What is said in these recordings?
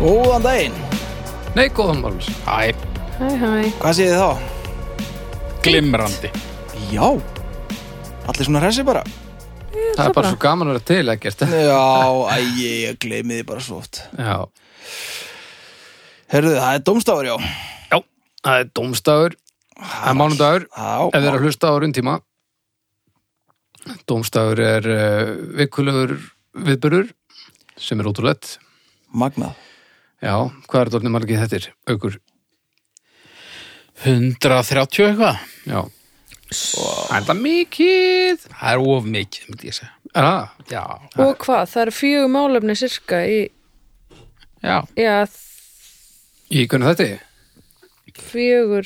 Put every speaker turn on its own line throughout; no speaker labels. Góðan daginn,
Nei, góðan Málmur. Æ,
Hæ, hæ.
hvað séð þið þá?
glimrandi.
Já, allir svona hressi bara
Það er bara svo gaman að vera til ekkert.
Já, æ, ég gleymi þið bara svo oft
Já.
Herðu, það er domstafur, já
Já, það er domstafur. Það er mánudagur. Ef
Já,
þið er að hlusta á rundtíma. Domstafur er uh, vikulegur viðbörur sem er ótrúlegt.
magnað
Já, hvað er dórnum margið þettir? Aukur.
130 eitthvað
Já. Það er það mikið.
Það er of mikið, myndi ég segja
Ah,
Já,
Og hvað, það eru fjögur málefni sirka í,
já,
já,
í hvernig þetta?
fjögur,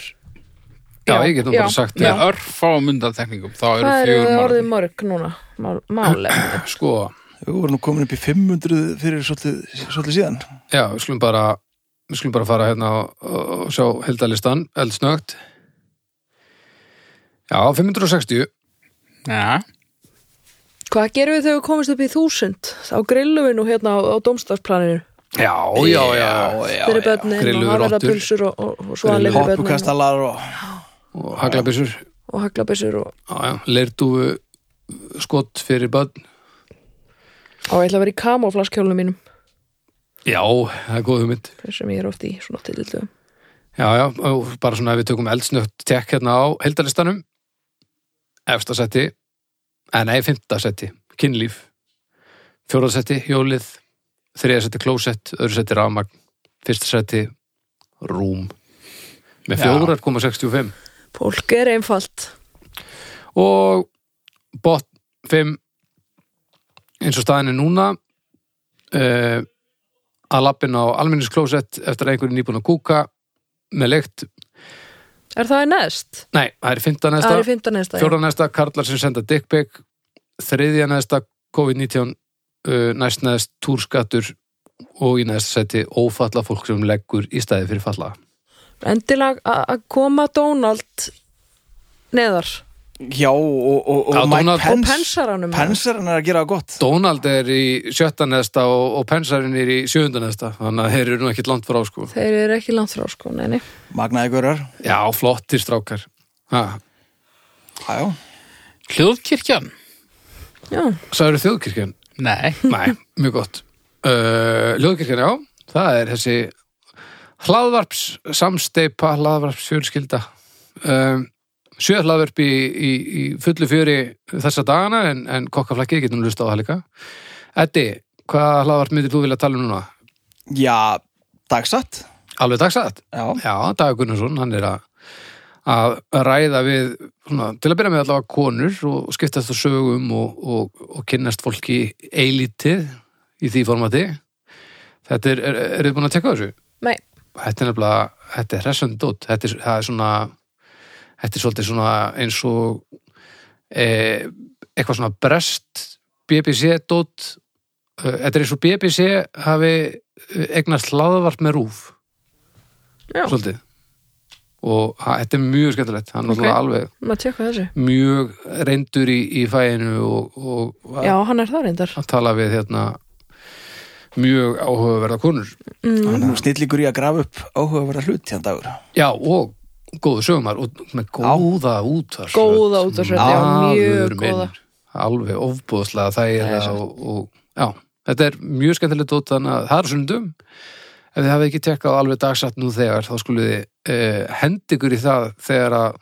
Já,
Já,
ég getum
já,
bara sagt
með
það.
já.
örfá mundatekningum þá eru
hvað eru
fjögur
það orðið
málefni.
mörg núna? Mál, málefni.
Sko,
Við vorum nú komin upp í 500 fyrir svolítið, svolítið síðan
já, við skulum bara, við skulum bara fara hérna og- og sjá heldalistan, eldsnögt. Já, 560.
Já,
Hvað gerum við þegar við komumst upp í þúsund? Þá grillum við nú hérna á, á domstafsplaninu.
Já, já, já, já.
Fyrir börnin og
Grilluðu rottur.
harðarpulsur og, og, og svalir fyrir börnin og,
Hoppukastalar og
Og haglabissur,
og haglabessur og,
já, já, leirtúfu skott fyrir börn.
og ég ætla að vera í kamoflaskjólunum mínum
Já, það er góð hugmynd.
sem ég er oft í svona tilildu.
Já, já, og bara svona ef við tökum eldsnögt tekk hérna á heldalistanum. Efsta seti, en nei, fymta seti, kynlíf. Fjóra seti, hjólið. Þriða seti, klósett. Öðru seti, rafmagn. Fyrsta seti, rúm. Með
Já.
4,65.
Fólk er einfalt.
og bot 5 eins og staðin er núna uh, að lappin á alminnisklósett eftir að einhverjum nýbúin að kúka með leikt,
Er það í næst?
nei, það er fymta
Það er í
næsta,
fymta næsta. já.
fjórða næsta karlar sem senda dickpic, þriðja næsta COVID-19 uh, næst næst túrskattur og í næsta seti ófalla fólk sem leggur í stæði fyrir falla
Endilega a- að koma Donald neðar.
Já, og, og, og
Já,
Mike
Donald-
Pence
Pensaranum.
Pensaran er að gera það gott
Donald er í sjötta næsta og, og pensarinn er í sjöunda næsta þannig að þeir eru nú ekkit langt frá sko
Þeir eru ekki langt frá sko, neini.
Magnaði görar,
Já, flottir strákar. Ha,
já, já
hljóðkirkjan
Já,
sagður þjóðkirkjan?
Nei,
Nei, mjög gott. Uh, Ljóðkirkjan, já, það er þessi hlaðvarps, samsteipa, hlaðvarps fjölskylda. Um, sjö hlaðvarp í, í, í fullu fjöri þessa dagana en, en kokkaflakki, getum við lusta á það líka. Eddi, hvað hlaðvarp myndir þú vilja tala um núna?
Já, dagsatt
Alveg dagsatt?
Já,
Já, Dagur Gunnarsson, hann er að að ræða við, svona, til að byrja með allavega konur og skiptast á sögum og, og, og kynnast fólki eilítið í því formati. Þetta er, er, er þið búin að tekka þessu?
nei.
Þetta er nefnilega, þetta er hressandi dótt, þetta er, það er svona, þetta er svolítið svona eins og e, eitthvað svona brest BBC dótt, e, þetta er eins og BBC hafi eignast hlaðvart með rúf
Já,
svolítið og ha, þetta er mjög skemmtilegt hann er
Ok.
náttúrulega alveg
maður tjekka þessu.
mjög reyndur í, í fæinu og, og
Já, hann er það reyndar.
að tala við hérna mjög áhugaverða konur
hann er nú snillíkur í að grafa upp áhugaverða hlut hérna dagur
já og góðu sögumar og með góða útvarsrödd
Góða útvarpsrödd, já,
Maður
mjög
minn,
góða.
alveg ofbúðslega þægilega
Nei,
og, og já, þetta er mjög skemmtilegt út þannig að það er sundum ef þið hafið ekki tekkað alveg dagsatt nú þegar þá skulle þið eh, hendi ykkur í það þegar að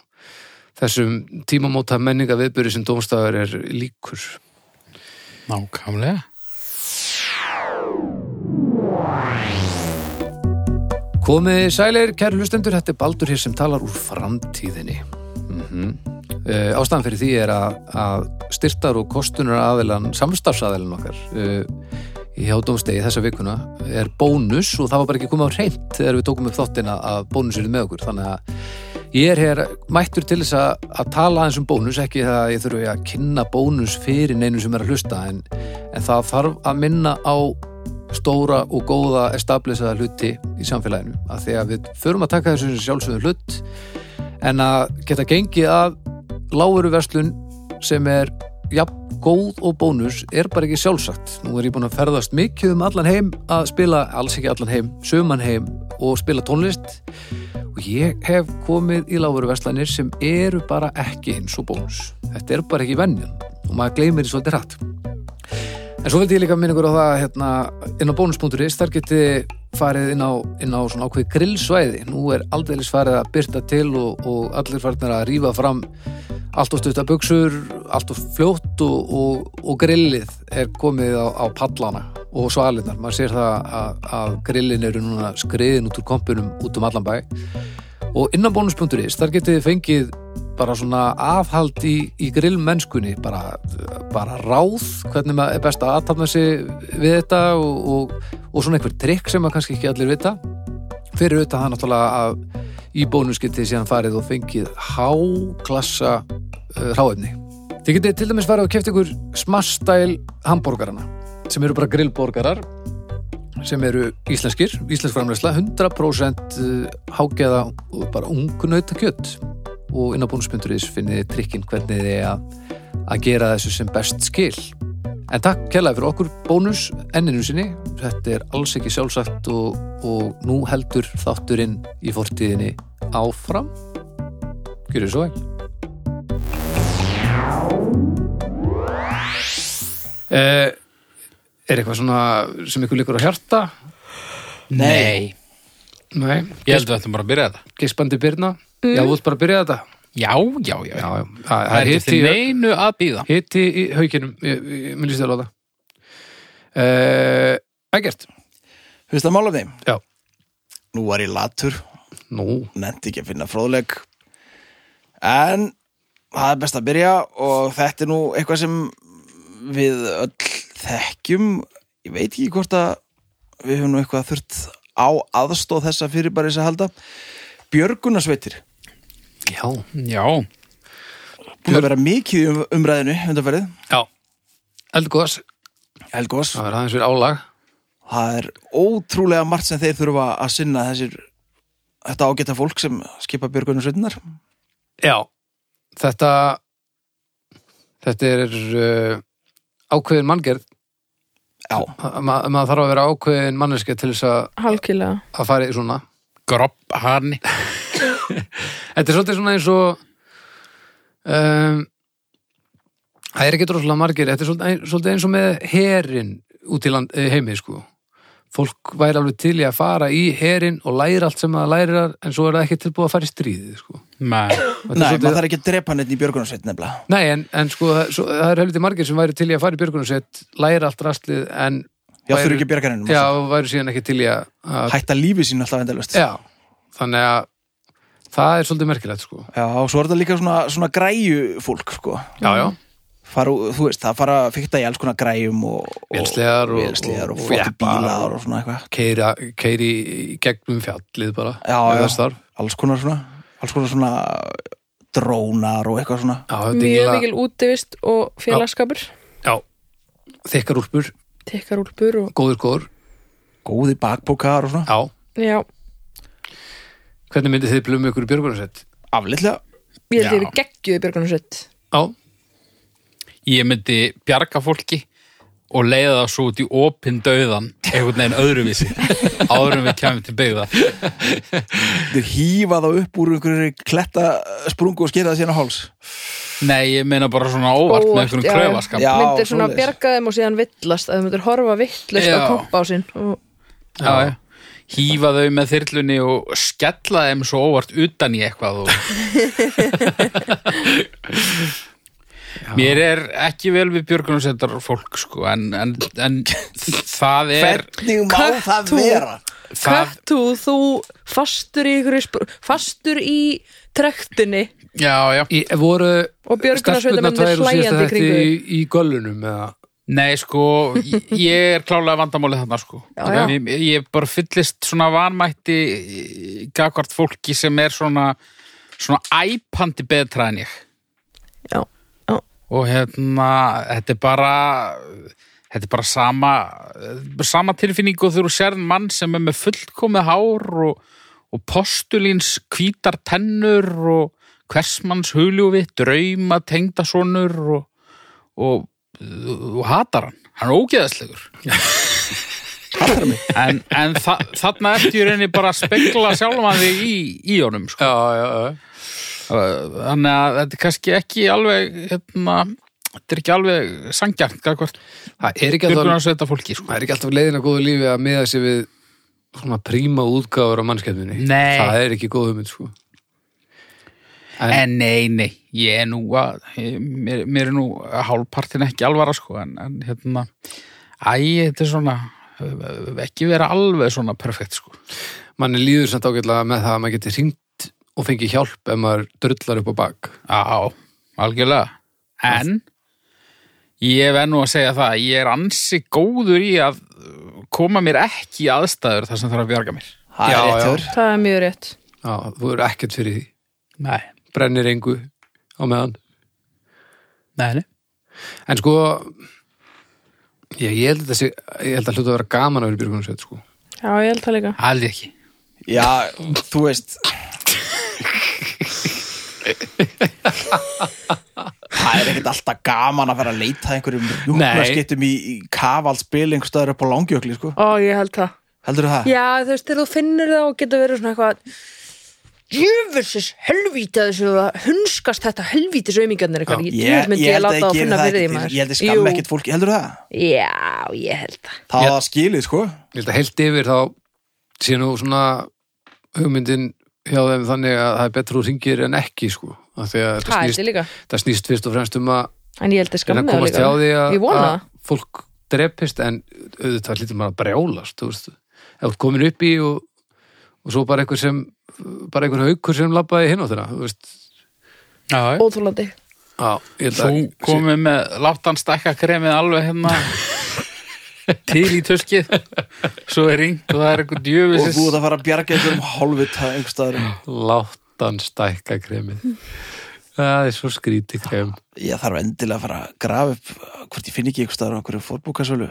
þessum tímamóta menninga viðbyrði sem dómstæður er líkur
nákvæmlega
Komið sælir, kæru hlustendur, þetta er Baldur hér sem talar úr framtíðinni. Mm Eh, ástæðan fyrir því er að, að styrtar og kostunar aðilan, samstafsaðilan okkar uh, í hjátumstegi þessa vikuna er bónus og það var bara ekki komið á reynt þegar við tókum upp þóttina að bónus eru með okkur. Þannig að ég er hér mættur til þess að, að tala aðeins um bónus, ekki það að ég þurfi að kynna bónus fyrir neinu sem er að hlusta en, en það þarf að minna á stóra og góða establishaða hluti í samfélaginu af því að við förum að taka þessu sem sjálfsögðu hlut en að geta gengið að láguru verslun sem er jafn góð og bónus er bara ekki sjálfsagt. Nú er ég búin að ferðast mikið um allan heim að spila, alls ekki allan heim, sögumann heim og spila tónlist og ég hef komið í lágveruverslanir sem eru bara ekki eins og bónus. Þetta er bara ekki vennjan og maður gleymir því svolítið hratt. En svo vildi ég líka minna ykkur á það hérna, inn á bónus.is, þar geti farið inn á, inn á svona ákveð grillsvæði. Nú er aldeilis farið að byrta til og, og allir farnir að rífa fram allt og stutta buksur, allt og fljótt og, og, og grillið er komið á, á pallana og svalinnar. Maður sér það að, að grillin eru núna skriðin út úr kompunum út um allan bæ. Og inn á bónus.is, þar getið þið fengið bara svona afhald í, í grillmennskunni, bara, bara ráð, hvernig maður er best að aðtapna sig við þetta og, og, og svona einhver trikk sem maður kannski ekki allir vita. Fyrir auðvitað það náttúrulega að í bónus getið þið síðan farið og fengið háklassa uh, ráefni. Þið getið til dæmis farið og keft ykkur smastæl hambúrgarana sem eru bara grillborgarar sem eru íslenskir, íslensk framleysla 100% hágeða uh, og bara ungnauta kjött og inn á bónus.is finnið þið trikkin hvernig þið að, að gera þessu sem best skil en takk kærlega fyrir okkur bónus enninu sinni, þetta er alls ekki sjálfsagt og, og nú heldur þátturinn í fortíðinni áfram Gjörðu svo ekki Uh, er eitthvað svona sem ykkur líkur á hjarta?
Nei.
Nei,
Ég held að þetta bara að byrja þetta.
geispandi byrna Já, þú ert bara að byrja þetta
Já, já, já.
Já, já, Þa-
Það er
hitti
eftir neinu að býða.
hitti í haukinum ég, ég minnist þér á það uh, Ekkert
Fyrst að mála þeim?
Já.
Nú var ég latur,
Nú,
nefndi ekki að finna fróðleg. En það er best að byrja og þetta er nú eitthvað sem við öll þekkjum. Ég veit ekki hvort að við höfum nú eitthvað þurft á aðstóð þessa fyrir bara þess að halda. Björgunarsveitir.
já
Já.
Búin að vera mikið um umræðinu undanferðið.
Já, eldgóðs
Helgós.
Það er aðeins fyrir álag
Það er ótrúlega margt sem þeir þurfa að sinna þessir þetta ágæta fólk sem skipa björgunarsveitinnar.
Já, þetta þetta er uh, ákveðin manngerð
Já.
Ma, maður þarf að vera ákveðin manneska til þess að,
Halkilega.
að fara í svona
Gropp hann.
Þetta er svolítið svona eins og um, það er ekki droslega margir þetta er svolítið, svolítið eins og með herin út í land, eh, heimi sko fólk væri alveg til í að fara í herin og læra allt sem það lærar en svo er það ekki tilbúið að fara í stríðið sko.
Nei.
Þetta er
Nei,
svolítið-
maður þarf ekki að drepa hann einn í björgunarsveitin nefnilega.
Nei, en, en sko það, svo, það er helviti margir sem væri til í að fara í björgunarsett læra allt rastlið en
Já,
væru-
þurfi ekki að bjarga hennum.
já, væri síðan ekki til í að, að
Hætta lífi sín alltaf endalust.
já, þannig að það er svolítið merkilegt sko
Já, og svo er þetta líka svona, svona græju fólk, sko.
já, já,
Faru, þú veist, það fara að fykta í alls konar græjum og... og-
Vélsleðar og-
Vélsleðar og
og
flotti
jeppar
bílar og svona eitthvað.
keira, keiri í gegnum fjallið bara
Já,
ef
já.
það starf.
Alls konar svona, alls konar svona drónar og eitthvað svona.
Já, þetta er
Mjög
eiginlega-
mikil útivist og félagskapur.
já, þykkar úlpur,
Tekkar úlpur og...
góður góður
Góði bakpókar og svona.
já,
Já,
hvernig myndið þið blömu ykkur í björgunarsett?
Aflitlega.
ég held
Já.
ég við geggjuði björgunarsveit.
Já,
Ég myndi bjarga fólki og leiða það svo út í opinn dauðan einhvern veginn öðruvísi áður en við kemum til byggða.
Þau hýfa þá upp úr einhverju kletta sprungu og skera það síðan á háls
Nei, ég meina bara svona óvart með
Óvart,
einhverjum
já,
kröfaskap.
Já,
myndir svona
svoleiðis.
bjarga þeim og síðan villast að þau myndir horfa villast á
Já.
kompásinn og
Já, já. Hífa þau með þyrlunni og skella þeim svo óvart utan í eitthvað og... Mér er ekki vel við björgunarsendar fólk sko, en, en, en það er
Hvernig má
Cut
það
to-
vera?
það,
Kattú, þú fastur í ykkur fastur í trektinni
Já, já
í, voru
Og björgunarsveitarmenn
stelpurnar tvær úr síðasta
hlæjandi í kringum
þætti í, í göllunum eða
Nei, sko, ég- ég er klálega vandamálið þarna, sko.
Já, já.
Ég, ég bara fyllist svona vanmætti gagvart fólki sem er svona, svona æpandi betra en ég.
Já, já,
Og hérna, þetta er bara, þetta er bara sama, sama tilfinning og þegar þú sérð mann sem er með fullkomið hár og, og postulíns hvítar tennur og hversmanns huljúfi, drauma, tengdasonur og og, og hatar hann hann er ógeðaslegur en, en þa þarna ertu í reyni bara að spegla sjálfan þig í, í honum sko.
já, já, já.
þannig að þetta er kannski ekki alveg hérna, þetta er ekki alveg sangjarnt gagvart
Það er ekki alltaf-
björgunarsveita fólki sko.
það er ekki alltaf leiðin að góðu lífi að miða sér við svona príma útgáfur á mannskjæðminni
Nei.
það er ekki góðu mynd sko
en nei, nei, ég er nú að mér, mér er nú hálfpartin ekki alvara sko, en, en hérna æ, þetta er svona ekki vera alveg svona perfekt sko.
manni líður samt ágætlega með það að maður geti hringt og fengi hjálp ef maður drullar upp á bak
Já, algjörlega. En ég verð nú að segja það, að ég er ansi góður í að koma mér ekki í aðstæður þar sem þarf að bjarga mér.
Það
Já,
er
já.
rétt hjá
það er mjög rétt
já, þú eru ekkert fyrir því,
Nei.
brennir engu á meðan,
Nei, nei.
en sko já, ég held að þetta sé ég held að hluta að vera gaman að vera björgunarsveit sko
já, ég held það líka
Aldrei ekki.
Já, þú veist Það er ekkert alltaf gaman að vera að leita að einhverjum rjúknarskyttum í, í kafalspil einhver staðar upp á langjökli, sko
ó, ég held það
Heldur það?
já, þú veist, þegar þú finnur það og getur verið svona eitthvað jöfursis helvíti að þessu að hunskast þetta helvítis auðmingjarnir eitthvað ég, ég, myndi ég,
held að
láta að
geri
finna
það
fyrir því
ekkert-
maður
Ég held að skam
Jú.
ekkert fólki, heldur það?
já, ég held það
Það yeah. skilið, sko
ég held að heilt yfir þá sé nú svona hugmyndin hjá þeim þannig að það er betra úr hringir en ekki sko af því að
það
þetta
held ég
snýst,
líka
það snýst fyrst og fremst um að
en ég held
reyna
það
að
skamna
komast hjá því að,
ég vona
að
það
fólk drepist en auðvitað lítur maður að brjálast þú veist, ef þú ert komin upp í og, og svo bara einhver sem bara einhver haukur sem labbaði hinn á þeirra þú veist,
Já,
óþúlandi
á, ég held
Þú
að
komið með láttan stakka kremið alveg hérna til í töskið svo er ringt og það er
Og
einhver
þú ert
djöfis
að fara að bjarga einhverjum hálfvita einhver staðar um
láttan stækka kremið það er svo skríti krem
Ég þarf endilega að fara að grafa upp hvort ég finn ekki einhver staðar á einhverju fórbókasölu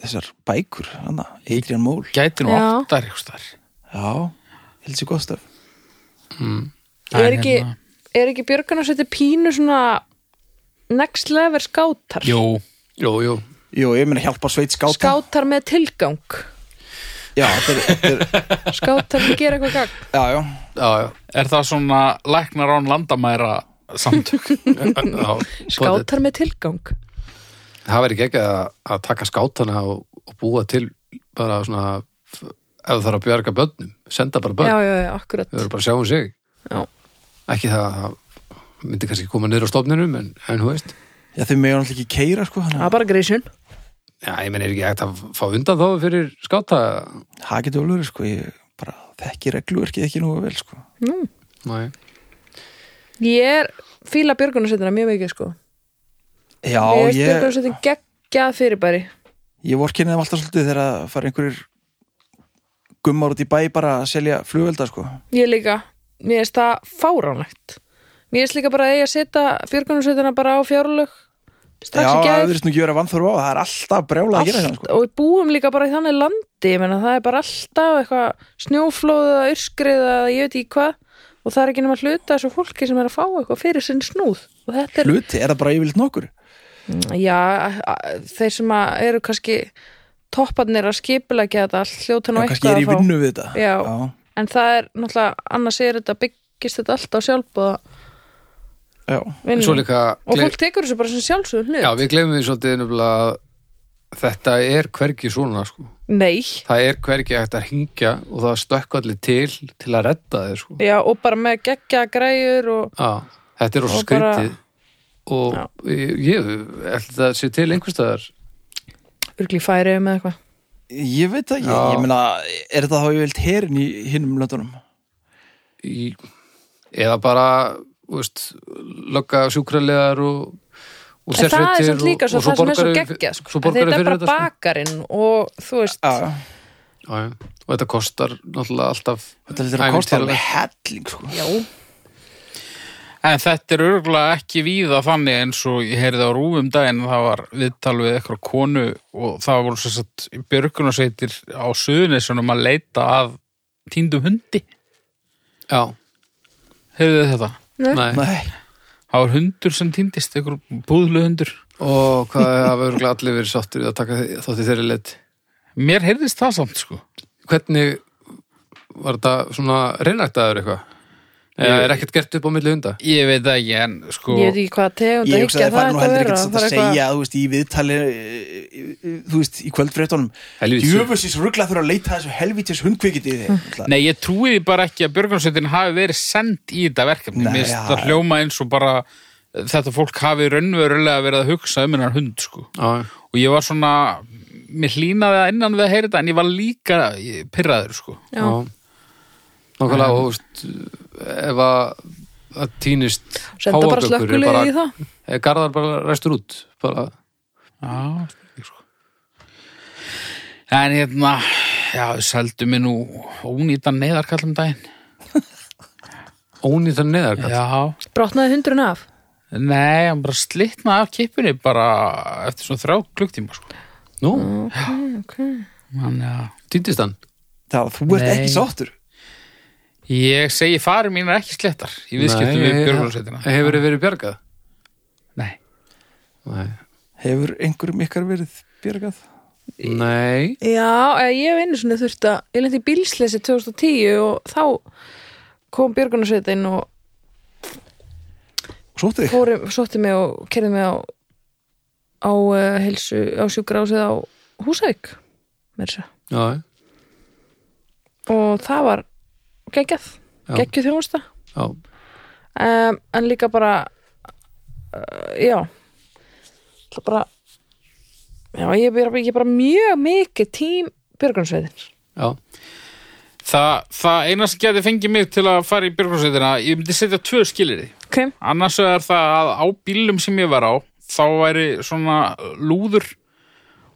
Þessar bækur, hana, Adrian Mól
gæti nú
Já.
áttar ykkur starf.
Já, heldur sér gott stöf
er ekki,
hérna-
er ekki björgunarsveiti pínu svona next level skátar
Jú,
jú, jú,
Jú, ég meina hjálpa sveit skáta
skátar með tilgang
Já, þetta er, þetta er,
skátar sem gera eitthvað gagn
já, já
já, já,
er það svona læknar án landamæra samtök?
já pottet.
skátar með tilgang
það verður ekki ekki að, að taka skátana og, og búa til bara svona ef það þarf að bjarga börnum senda bara börn,
já, já, já, akkurat
þau eru bara að sjá um sig
já.
ekki það að það myndi kannski koma niður á stofninum en, en þú veist
Já, þau meðan alltaf ekki keira, sko
það
Þannig
er bara grísun
já, ég menn er ekki hægt að fá undan þá fyrir skáta
að það getur alveg, sko Ég bara þekki regluverkið ekki nú vel, sko
Nei.
ég er fíla björgunarsveitina mjög mikið sko
Já,
ég er
ég,
björgunarsveitin geggjað fyrirbæri
ég vorkinni þeim alltaf svolítið þegar að fara einhverjir gummar út í bæ bara að selja flugvelda, sko
ég líka, mér finnst það fáránlegt mér finnst líka bara að ég að setja björgunarsveitina bara á fjárlög
Já,
strax í
það
gæð
verðist nú ekki vera vanþorfa á það er alltaf brjála að gera það,
Allt,
sko
og við búum líka bara í þannig landi ég menna, það er bara alltaf eitthvað snjóflóð eða yrkrið eða ég veit í hvað og það er ekki nema hluta þessu fólki sem er að fá eitthvað fyrir sinn snúð og þetta er,
Hluti, er það bara yfirleitt nokkur?
já, a- a- þeir sem að eru kannski topparnir að skipulegja þetta allt hljóta
Já,
nú
kannski er
eitthvað
í
að fá
vinnu við þetta
Já. en það er náttúrulega, annars er þetta byggist þetta alltaf sjálfbúða
já,
En svo líka
og
gle-
fólk tekur þessu bara sem sjálfsögur
já,
hlut
við glemum því svolítið nefnilega að þetta er hvergi svona sko.
nei,
það er hvergi hægt að hingja og það stökkvallir til til að redda þér sko.
já, og bara með geggja græjur og
já, þetta er rosa
Og bara-
skrítið og
Já.
ég, ég ætla það sé til einhverstaðar
örgli færi með eitthvað
Ég veit það ekki,
Já.
ég meina, er þetta þá yfirleitt herin í hinnum löndunum?
í, eða bara þú veist, lögga sjúkralegar og, og
En það er
sérfrættir
samt líka
og,
svo
og
það sem er svo
borgaru-
geggja sko.
svo
Að
borgaru
þetta er
fyrir
bara
þetta sko.
bakarinn og þú veist
Já, já
Já, já. og þetta kostar náttúrulega alltaf
Þetta lítur að kosta alveg
ævintýralegt.
helling sko.
já,
En þetta er örgulega ekki víða þannig eins og ég heyrði á rúfum daginn það var viðtal við eitthvað konu og það voru svo satt björgunarsveitir á suðunissunum að leita að týndum hundi.
já,
Heyrðu þið þetta?
nei.
nei,
Nei,
það var hundur sem týndist, einhver búðlu hundur
Og hvað hafa örugglega allir verið sáttir að taka þótti þeirri leitt?
mér heyrðist það samt sko
Hvernig var þetta svona reynægtaður eitthvað? Eða er ekkert gert upp á milli hunda?
ég veit það ekki en sko
Ég veit ekki hvað tegund að
Ég hugsaði
higgja
að
það
fara nú
ætti
heldur
að vera.
ekkert samt
Það
að
er eitthvað-
segja þú veist, í viðtali eh, eh, þú veist, í kvöldfréttunum
Helvítis.
djöfusins ruggla þurfa að leita að þessu helvítis hundkvikið í
Hm.
þig Ætla-
Nei, ég trúi því bara ekki að björgunarsveitin hafi verið send í þetta verkefni.
Nei,
Mér finnst
já.
það hljóma eins og bara eh, þetta fólk hafi raunverulega verið að hugsa um hennar hund, sko.
Já,
Og ég var svona, mér hlýnaði að innan við að heyra þetta, en ég var líka eh, pirraður, sko.
Já.
Nákvæmlega, og veist, ef að það týnist
Senda bara
páfagaukur, er
slökkulegið í það.
er Garðar bara ræstur út bara,
Já, spurning, sko. En hérna, já, þau seldu mér nú ónýtan neyðarkall um daginn.
ónýtan neðarkall
Já.
Brotnaði hundrun af.
Nei, hann bara slitnaði af kipunni bara eftir svona þrjá klukktíma, sko.
Nú,
Okay.
Þannig að...
týndist hann
Það, þú ert
Nei.
ekki sáttur
Ég segi farir mínar ekki slettar í viðskiptum við
Nei,
björgunarsveitina.
Hefur þið verið bjargað?
Nei.
Nei,
Hefur einhverjum ykkar verið björgað?
Nei.
Já, eh, ég hef einu svona þurft að, ég lendi í bílsleysi 2010 og þá kom björgunarsveitin og
Sóttu þig?
fórum, sótti mig og kerði mig á á uh, helsu, á sjúkrásið á Húsavík mér sér
Já,
og það var geggjað,
Já.
geggjuð þjónusta
já,
um, en líka bara uh, já það bara já, ég er bara, ég er bara mjög mikið tím björgunsveitin
já
Þa, það eina sem geti fengið mig til að fara í björgunarsveitina, ég myndi setja tvö skilirði.
ok,
Annars er það að á bílum sem ég var á, þá væri svona lúður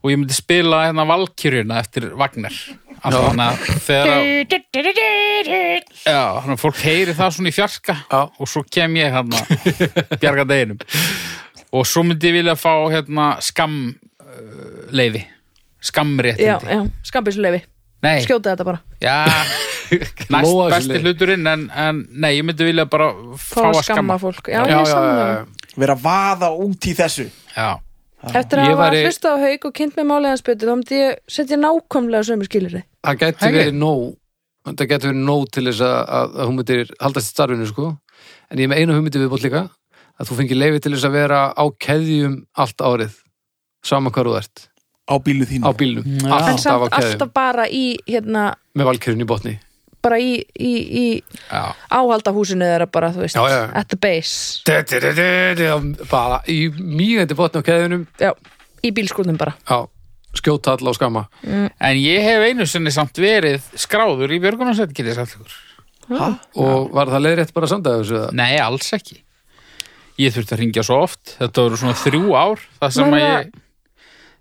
og ég myndi spila hérna valkyrjuna eftir Vagner. Alltaf hann að þegar að... Já, þannig að fólk heyri það svona í fjarka
Já.
og svo kem ég hérna bjarga deginum. Og svo myndi ég vilja fá hérna skamleiði, skamréttindi.
já, já, skambisleyfi
Nei,
skjóta þetta bara,
já, næst
Lóa þessu
besti
leið.
hluturinn en, en nei, ég myndi vilja bara
fá
fá
að skamma fólk já,
já,
ég er
já,
saman
já.
það
Vera að vaða út í þessu
Já,
Eftir að
Ég
hafa
væri-
hlustað á haug og kynnt með máliðans betur þá myndi ég setja nákvæmlega sömu skilur
Það gæti
Hei.
verið nóg Það gæti verið nóg til þess að, að, að hún myndir haldast í starfinu sko En ég er með einu hugmyndi við bótt líka að þú fengir leifi til þess að vera á keðjum allt árið saman hvað þú ert,
á bílu
á
þínu
bílnum
Já.
en
alltaf á
samt
keðjum,
alltaf bara í hérna,
með valkyrun í botni
bara í, í, í
já,
áhaldahúsinu þeirra bara, þú veist
Já, já.
at the base,
Du-du-du-du-du, bara í mýgandi botni á keðjunum
já, í bílskúrnum bara
á skjóta all á skamma
en ég hef einu sinni samt verið skráður í björgunarsveit, get ég sagt ykkur.
Hæ?
og var það leiðrétt bara samdæðu þessu það?
Nei, alls ekki. Ég þurfti að ringja svo oft, þetta voru svona þrjú ár, það sem
Var það-
að ég,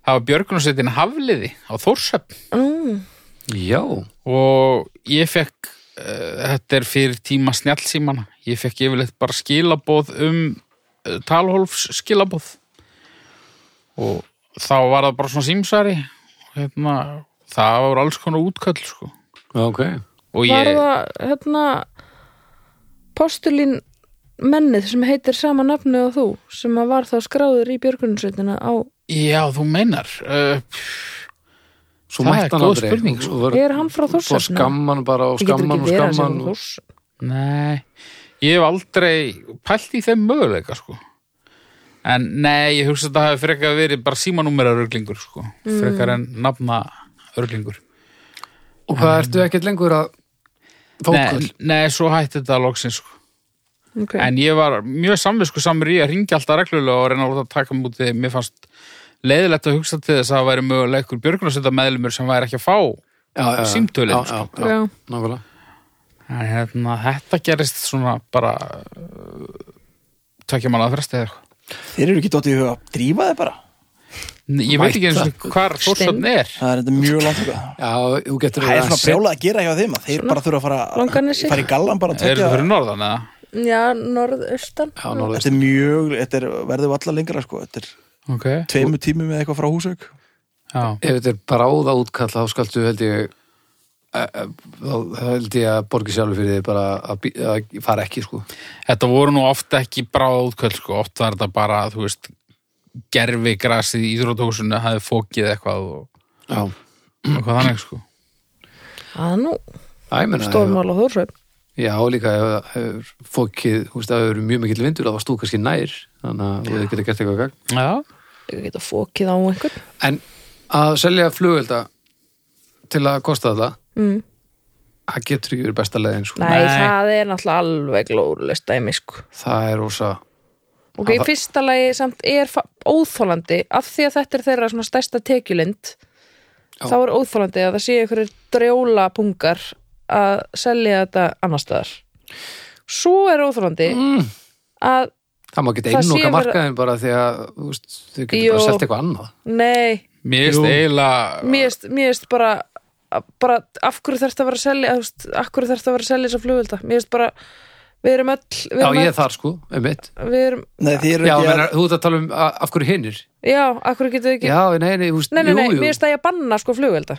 það var björgunarsveitin Hafliði á Þórsöfn
mm,
Já,
og ég fekk, uh, þetta er fyrir tíma snjallsímana, ég fekk yfirleitt bara skilaboð um uh, talhólfs skilaboð og þá var það bara svona símsari og hérna, það voru alls konar útköll sko.
ok
og
var
ég,
það hérna postulín mennið sem heitir sama nafni og þú sem að var þá skráður í björgunsveitina á,
já þú meinar uh,
Svo
Það er
mætti hann
góð
aldrei
spurning, sko.
Var-
er hann frá
Svo
þorsöfna?
skamman bara og
Ég getur
skamman
ekki
og
verið að um sé
skamman og...
frá Þórs
nei ég hef aldrei pælt í þeim möguleika sko. en nei, ég hugsa að þetta hafi frekar verið bara símanúmera örglingur sko. frekar en nafna örglingur
og hvað ertu ekkert lengur að
Nei,
fókul?
nei, svo hætti þetta loksins sko.
okay.
En ég var mjög samvisku samur í að ringja alltaf reglulega og reyna að láta taka mig út því mér fannst leiðilegt að hugsa til þess að það væri mögulega ykkur björgunarsvita meðlumur sem væri ekki að fá
Já, já, já.
símtölin,
Já,
sko.
já, já,
Já.
nákvæmlega
en hérna, þetta gerist svona bara uh, tvekja manna að fresta eða eitthvað
Þeir eru ekki dottið í huga að drífa þig bara
Nei, Ég veit ekki eins og
Mæta.
hvar þórsöfn er
Það er þetta mjög langt huga
Já, þú getur
Það er svona
að
brjálað að gera hjá þeim að þeir bara þurfa að fara,
Langanesi.
fara í gallan bara að
Er
tvekja
þetta fyrir norðan eða?
já, norðaustan
Já, norðast
Þetta er mjög, þetta er, verður allar lengra sko Þetta er
Ok,
tveimu tími með eitthvað frá húsauk
já
Ef þetta er bráða útkall þá skaltu held ég eh, þá held ég að borgi sjálfur fyrir því bara að, bí- að fara ekki sko
Þetta voru nú oft ekki bráðutkvöld sko, oft var þetta bara, þú veist gerfi grasið í íþrótókusinu hafði fókið eitthvað og
Já,
eitthvað þannig sko
að nú,
Æ, menna,
stórmál á Þórsveim
Já, og líka ef það hefur fókið, þú veist, ef það hefur mjög mikill vindur, þá varst þú kannski nær, þannig að þú hefur getað gert eitthvað gagn.
Já,
ég geta fókið á einhvern
En að selja flugvelda til að kosta þetta,
mm.
það getur ekki verið besta leiðin, sko.
Nei,
Nei.
það er náttúrulega alveg glórulegst dæmi sko.
Það er ósa,
Ok, í fyrsta lagi samt er fa- óþolandi af því að þetta er þeirra svona stærsta tekjulind
Já.
þá er óþolandi að það sé einhverjir drjóla pungar að selja þetta annar staðar Svo er óþolandi
Mm.
að
það má geta
Það sé
einnúka
verið-
markaðin bara því að, þú veist, þau getur
Jú.
bara selt eitthvað annað.
nei,
mér
Jú.
finnst eiginlega
mér erst- mér erst bara að- bara af hverju þarfst að vera að selja þú veist, af hverju þarfst að vera að selja þessa flugvölda mér erst bara, við erum öll við
Já,
erum
ég
öll,
er þar, sko, um mitt.
við erum,
Nei, þið eru
Já,
ekki
menna, þú ert að tala um a- af hverju hinnir.
já, af hverju getum við ekki
Já, nei, nei, þú veist,
nei, nei, nei,
jú, jú.
mér erst að ég banna sko flugvölda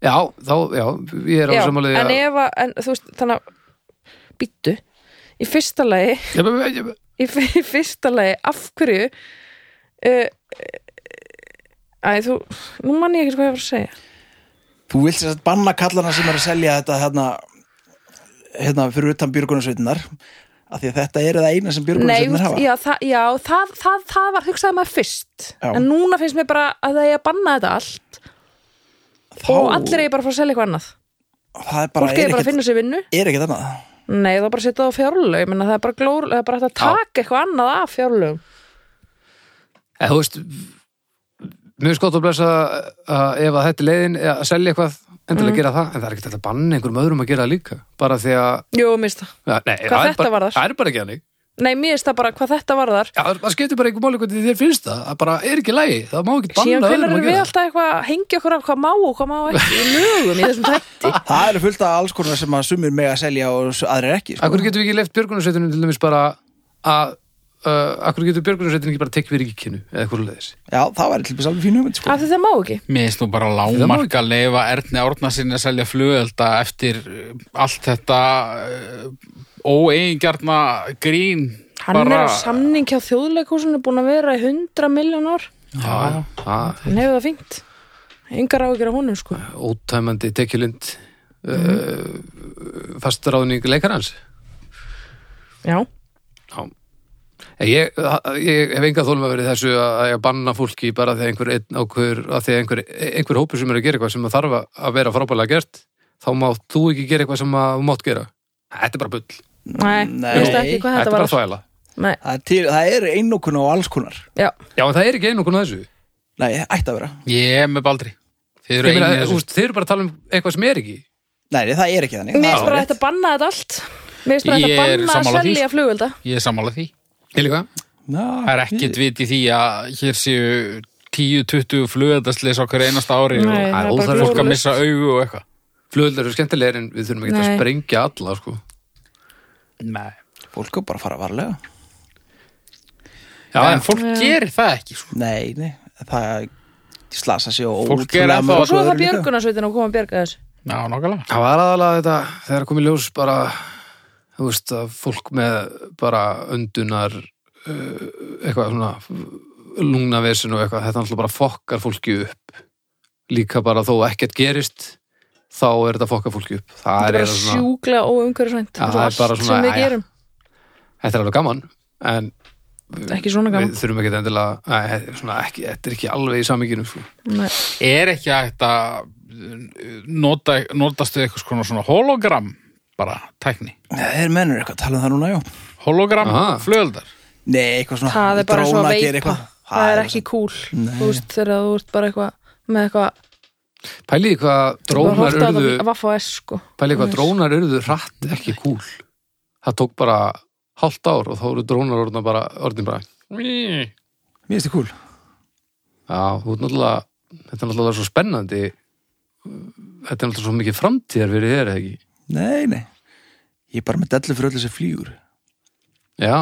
Já, þá, já, ég er á
Já,
samanlega.
en ef að, en, þú veist, þannig að býttu, í fyrsta lagi
Ég,
í fyr- í fyrsta lagi, af hverju uh, æ, þú nú mann ég ekki hvað ég var að segja
Þú vilt sér að banna kallana sem er að selja þetta hérna, hérna fyrir utan björgunarsveitinar af því að þetta eru það eina sem
Nei, þú
björgunarsveitinar
veist,
hafa
já, það, já það, það, það var hugsaði maður fyrst
Já.
en núna finnst mér bara að það er að banna þetta allt
Þá,
og allir er bara að fara að selja eitthvað annað
það er bara, er
fólk er bara að
ekkert,
finna sér vinnu
er ekkert annað
nei, það er bara að setja það á fjárlög Ég meina, það er bara, glór, það er bara hægt að
Já.
taka eitthvað annað af fjárlögum
En þú veist, mjög skott að blessa að ef að þetta er leiðin eða að selja eitthvað, endilega
Mhm.
gera það, en það er ekki þetta að banna einhverjum öðrum að gera það líka, bara því að,
jú, mista
ja, nei,
Hvað
það er
þetta
bara,
varðar?
það er bara ekki hannig.
nei, mér finnst það bara hvað þetta varðar
Já, það skiptir bara einhver máli hvernig þér finnst það, það bara er ekki lægi, það má ekki
síðan
banna
hvernig
öðrum að
erum við
gera það.
alltaf eitthvað að hengja okkur af hvað má og hvað má ekki í lögum í þessum tætti
Það eru fullt af alls konar sem að sumir mega að selja og s- aðrir ekki sko.
Akkur getum við ekki left björgunarsveitunum til dæmis bara að, uh, akkur getur björgunarsveitunum ekki bara tekið við ríkinu eða eitthvað leðis.
Já, það var eitthvað alveg fín hugmynd sko.
af því það má ekki
Mér finnst nú bara
Það má
lágmark að leifa Erni Árna sinni að selja flugölda eftir uh, allt þetta eh, óeigingjarna grín
hann er á samning hjá þjóðleikúsinu búin að vera í 100 miljón ár
Já, það
hann hefur það fínt yngar áhyggjur á honum sko
er ótæmandi tekjulind, uh, fastaráðning leikarans.
já,
Já. En Ég, ég hef enga þólum að verið þessu að, að ég banna fólki bara þegar einhver, einn ákveður- að þegar einhver, einhver hópur sem er að gera eitthvað sem þarf að- að vera frábælega gert þá mátt þú ekki gera eitthvað sem að þú mátt gera. Þetta er bara bull.
nei,
Nei.
ég veist ekki hvað
Þetta er
þetta
bara
var
þvæla.
nei,
Það er, til, það er einokun á alls konar
já,
Já, en það er ekki einu konar þessu.
Nei, ætti að vera
Ég er með Baldri Þið eru
Ég
einu
meina,
þessu
úst, þið eru bara að tala um eitthvað sem er ekki.
Nei, nei, það er ekki þannig
mér
Það-
finnst bara að þetta banna þetta allt mér finnst bara að
Ég
þetta
er
banna að
sammála því,
sko.
selja flugvelda
Ég er sammála því
Ég líka.
Ná,
Það er ekkit vit í því að hér séu 10-20 flugöldaslis okkur einasta ári
það er
nei, það er
og
bara
óþarfi.
fólk að
glórulaust
missa augu og eitthvað
Flugöldar eru skemmtilegir en við þurfum ekki að
Nei.
sprengja alla, sko.
Nei
Fólk er bara að fara varlega
Já,
En fólk gerir það ekki sko.
Nei, nei, það slasa sér
Fólk er ennþá-
og svo er það björgunarsveitin að koma að björga þessu
Já, nákvæmlega
Það var aðalega þetta þegar komið ljós bara, þú veist, að fólk með bara öndunar uh, eitthvað svona lungnavesin og eitthvað, þetta alltaf bara fokkar fólki upp líka bara þó ekkert gerist þá er þetta fokkar fólki upp það
það
er,
er
er svona,
sjúkla og umhverfisvænt
Já, það er bara
allt
svona,
sem við
jæja.
gerum,
þetta er alveg gaman en
ekki svona gaman
við þurfum ekki endilega, að, svona ekki þetta er ekki alveg í samíkinu sko.
Nei.
Er ekki hægt að eh, nota, notastu eitthvað svona, svona hologram bara tækni
Þeir mennur eitthvað, tala um það núna, já
Hologram
Aha.
flugöldar
Nei, eitthvað svona
það er bara
dróna
svo að
að gera
veipa
eitthvað.
það er ekki cool þú veist þegar þú ert bara eitthvað með eitthvað
pæliði hvað drónar urðu
vaffa S sko
pæliði hvað
Yes.
drónar urðu rætt ekki kúl það tók bara hálft ár og þá eru drónar orðin bara, orðin bara
Mér finnst þið kúl
Já, þú ert náttúrulega, þetta er náttúrulega svo spennandi, þetta er náttúrulega svo mikið framtíðar fyrir þér, eða ekki?
Nei, nei Ég er bara með dellu fyrir öllu sem flýgur
Já,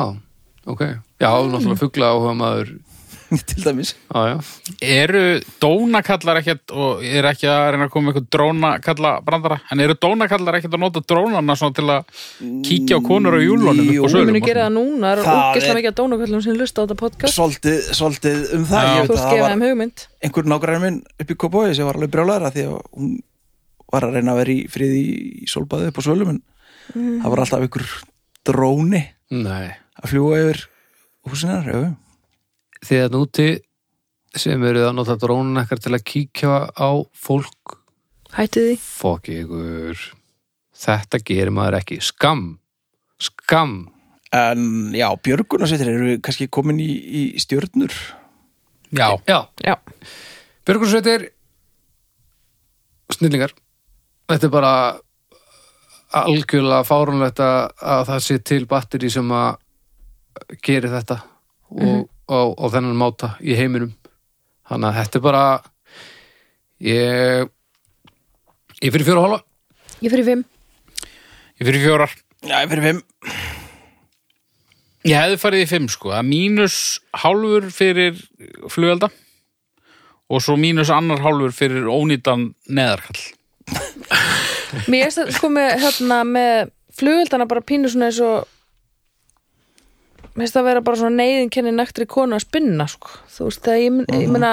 ok. Já, náttúrulega fugla áhuga maður,
til dæmis
já, já.
Eru dónakallar ekkert og er ekki að reyna að koma með eitthvað drónakalla brandara, en eru dónakallar ekkert að nota drónana svona til að kíkja á konur á júlunum
Jú,
upp á
Svo erum
Við
sölum?
munum gera það núna, það eru
Það
ógislega
er-
mikið að dónaköllum sem hlusta á þetta podcast
svolítið, svolítið um það
Já.
ég
Þú
veit að það
skifa
var
þeim hugmynd
einhver nágræn minn upp í Kópói sem var alveg brjálæðra því að hún var að reyna að vera í friði í solbaði upp á svölum en
Mm.
það var alltaf einhver dróni
Nei.
að fljúa yfir húsinar já, já.
Þið að núti sem eruð að nota drónin ekkert til að kíkja á fólk
Hætti því
fokk ykkur þetta gerir maður ekki skam skam
en já, björgunarsveitir eru við kannski komin í, í stjörnur
Já,
já,
Já,
Björgunsveitir snillingar þetta er bara algjörlega fárunlegt að að það sé til batteri sem að gerir þetta og, og, og þennan máta í heiminum þannig að þetta er bara ég ég fyrir fjóra hóla
ég fyrir fimm
ég fyrir fjórar
já, fyrir fimm
Ég hefði farið í fimm sko, að mínus hálfur fyrir flugelda og svo mínus annar hálfur fyrir ónýtan neðarkall
Mér erst að sko með, hérna, með flugöldana bara pínu svona eins og Mér erst að vera bara svona neyðin kenni nektri konu að spinna sko. Þú veist, það ég, mun-
Mhm.
ég meina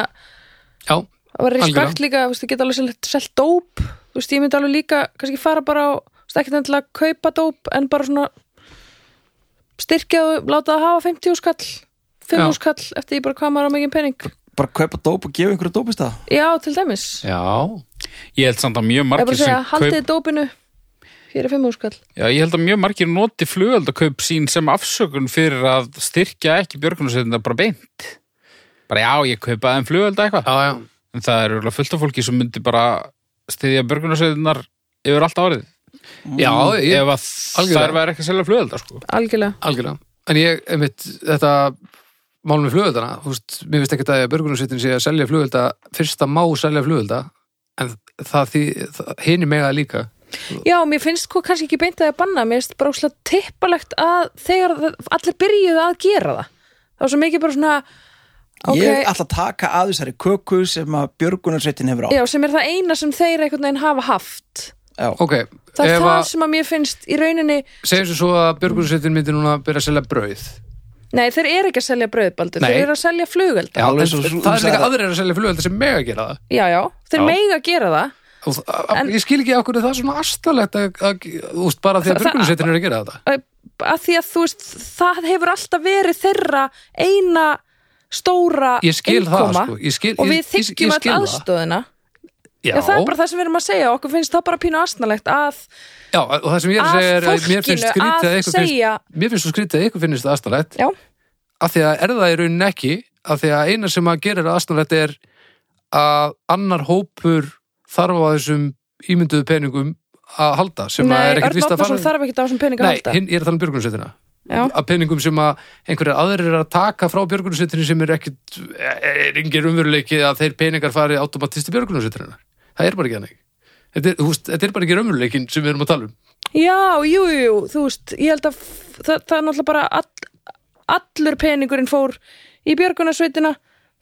já,
Það var respekt
Algjörlega.
líka, þú veist, þið geta alveg selt, selt dóp Þú veist, ég myndi alveg líka kannski fara bara á, þú veist, ekkert endilega að kaupa dóp en bara svona styrkjaðu, láta það hafa 50 skall 5
Já.
skall eftir ég bara hvað maður á mikið pening
bara kaupa dóp og gefa einhverju dópist það
Já, til dæmis
já,
Ég held samt að
Ég
mjög
er bara
margir
að segja,
sem
haldið dópinu fyrir 5 skall
Já, ég held að mjög margir noti flugeldakaup sín sem afsökun fyrir að styrkja ekki björgunarsveitina bara beint. Bara já, ég kaupa þeim flugelda eitthvað.
já, já
En það eru alveg fullt af fólki sem myndi bara styðja björgunarsveitinar yfir allt árið.
Mm, já, ég
Ef að
Algjörlega.
þær væri ekki að selja flugelda, sko.
Algjörlega
Algjörlega. En ég, einmitt, þetta málum við flugöldana, þú veist, mér finnst ekkert að björgunarsveitin sé að selja flugölda, fyrst að má selja flugölda, en það því, hinn er mega líka.
Já, mér finnst hvað kannski ekki beint að ég banna mér finnst bara óslega tippalegt að þegar það- allir byrjuðu að gera það það var svo mikið bara svona ok,
ég ætla að taka að þessari köku sem að björgunarsveitin hefur á
já, sem er það eina sem þeir einhvern veginn hafa haft
Já.
Ok,
það er
ef
það
að,
sem að mér finnst í rauninni
segjum svo svo að björgunarsveitin myndi núna að byrja að selja brauð.
nei, þeir eru ekki að selja brauðbaldur,
Nei.
þeir eru að selja flugölda já,
alveg
en
svo- svo-
það er
sagði
líka
það.
aðrir að selja flugölda sem mega að gera það.
já, þeir
Já.
mega gera það
Og, en,
En-
ég skil ekki okkur það er svona astalegt að, að, þú veist, bara því
Það-
að björgunarsveitin er að gera þetta.
að því að þú veist, það hefur alltaf verið þeirra eina stóra
Ég skil það,
innkoma
sko, ég skil-
og
ég-
við
ég- ég skil
þykjum all
það.
aðstöðina
Já,
Já, það er bara það sem við erum að segja okkur finnst það bara pínu astnalegt að,
já, og það sem ég er að
að
segja er að mér finnst
fólkinu
skrítið
að
að ykkur finnst,
segja
mér finnst svo skrítið að ykkur finnst það astalegt
já,
af því að er það í rauninni ekki af því að eina sem að gerir aðsnarlegt er að annar hópur þarf á þessum ímynduðu peningum að halda sem
nei,
að er
Örn
ekkert vist að
Átnarsson
fara
þarf ekki á þessum peninga
Nei,
halda
hinn, ég er að tala um björgunarsveitina
Já.
að peningum sem að einhverjar aðrir er að taka frá björgunarsveitinu sem er ekkit er engin umveruleiki að þeir peningar fari automatisti björgunarsveitina það er bara ekki þannig þetta er, þú veist, þetta er bara ekki umveruleikin sem við erum að tala um
já, jú, jú, jú, þú veist ég held að f- það, það er náttúrulega bara all, allur peningurinn fór í björgunarsveitina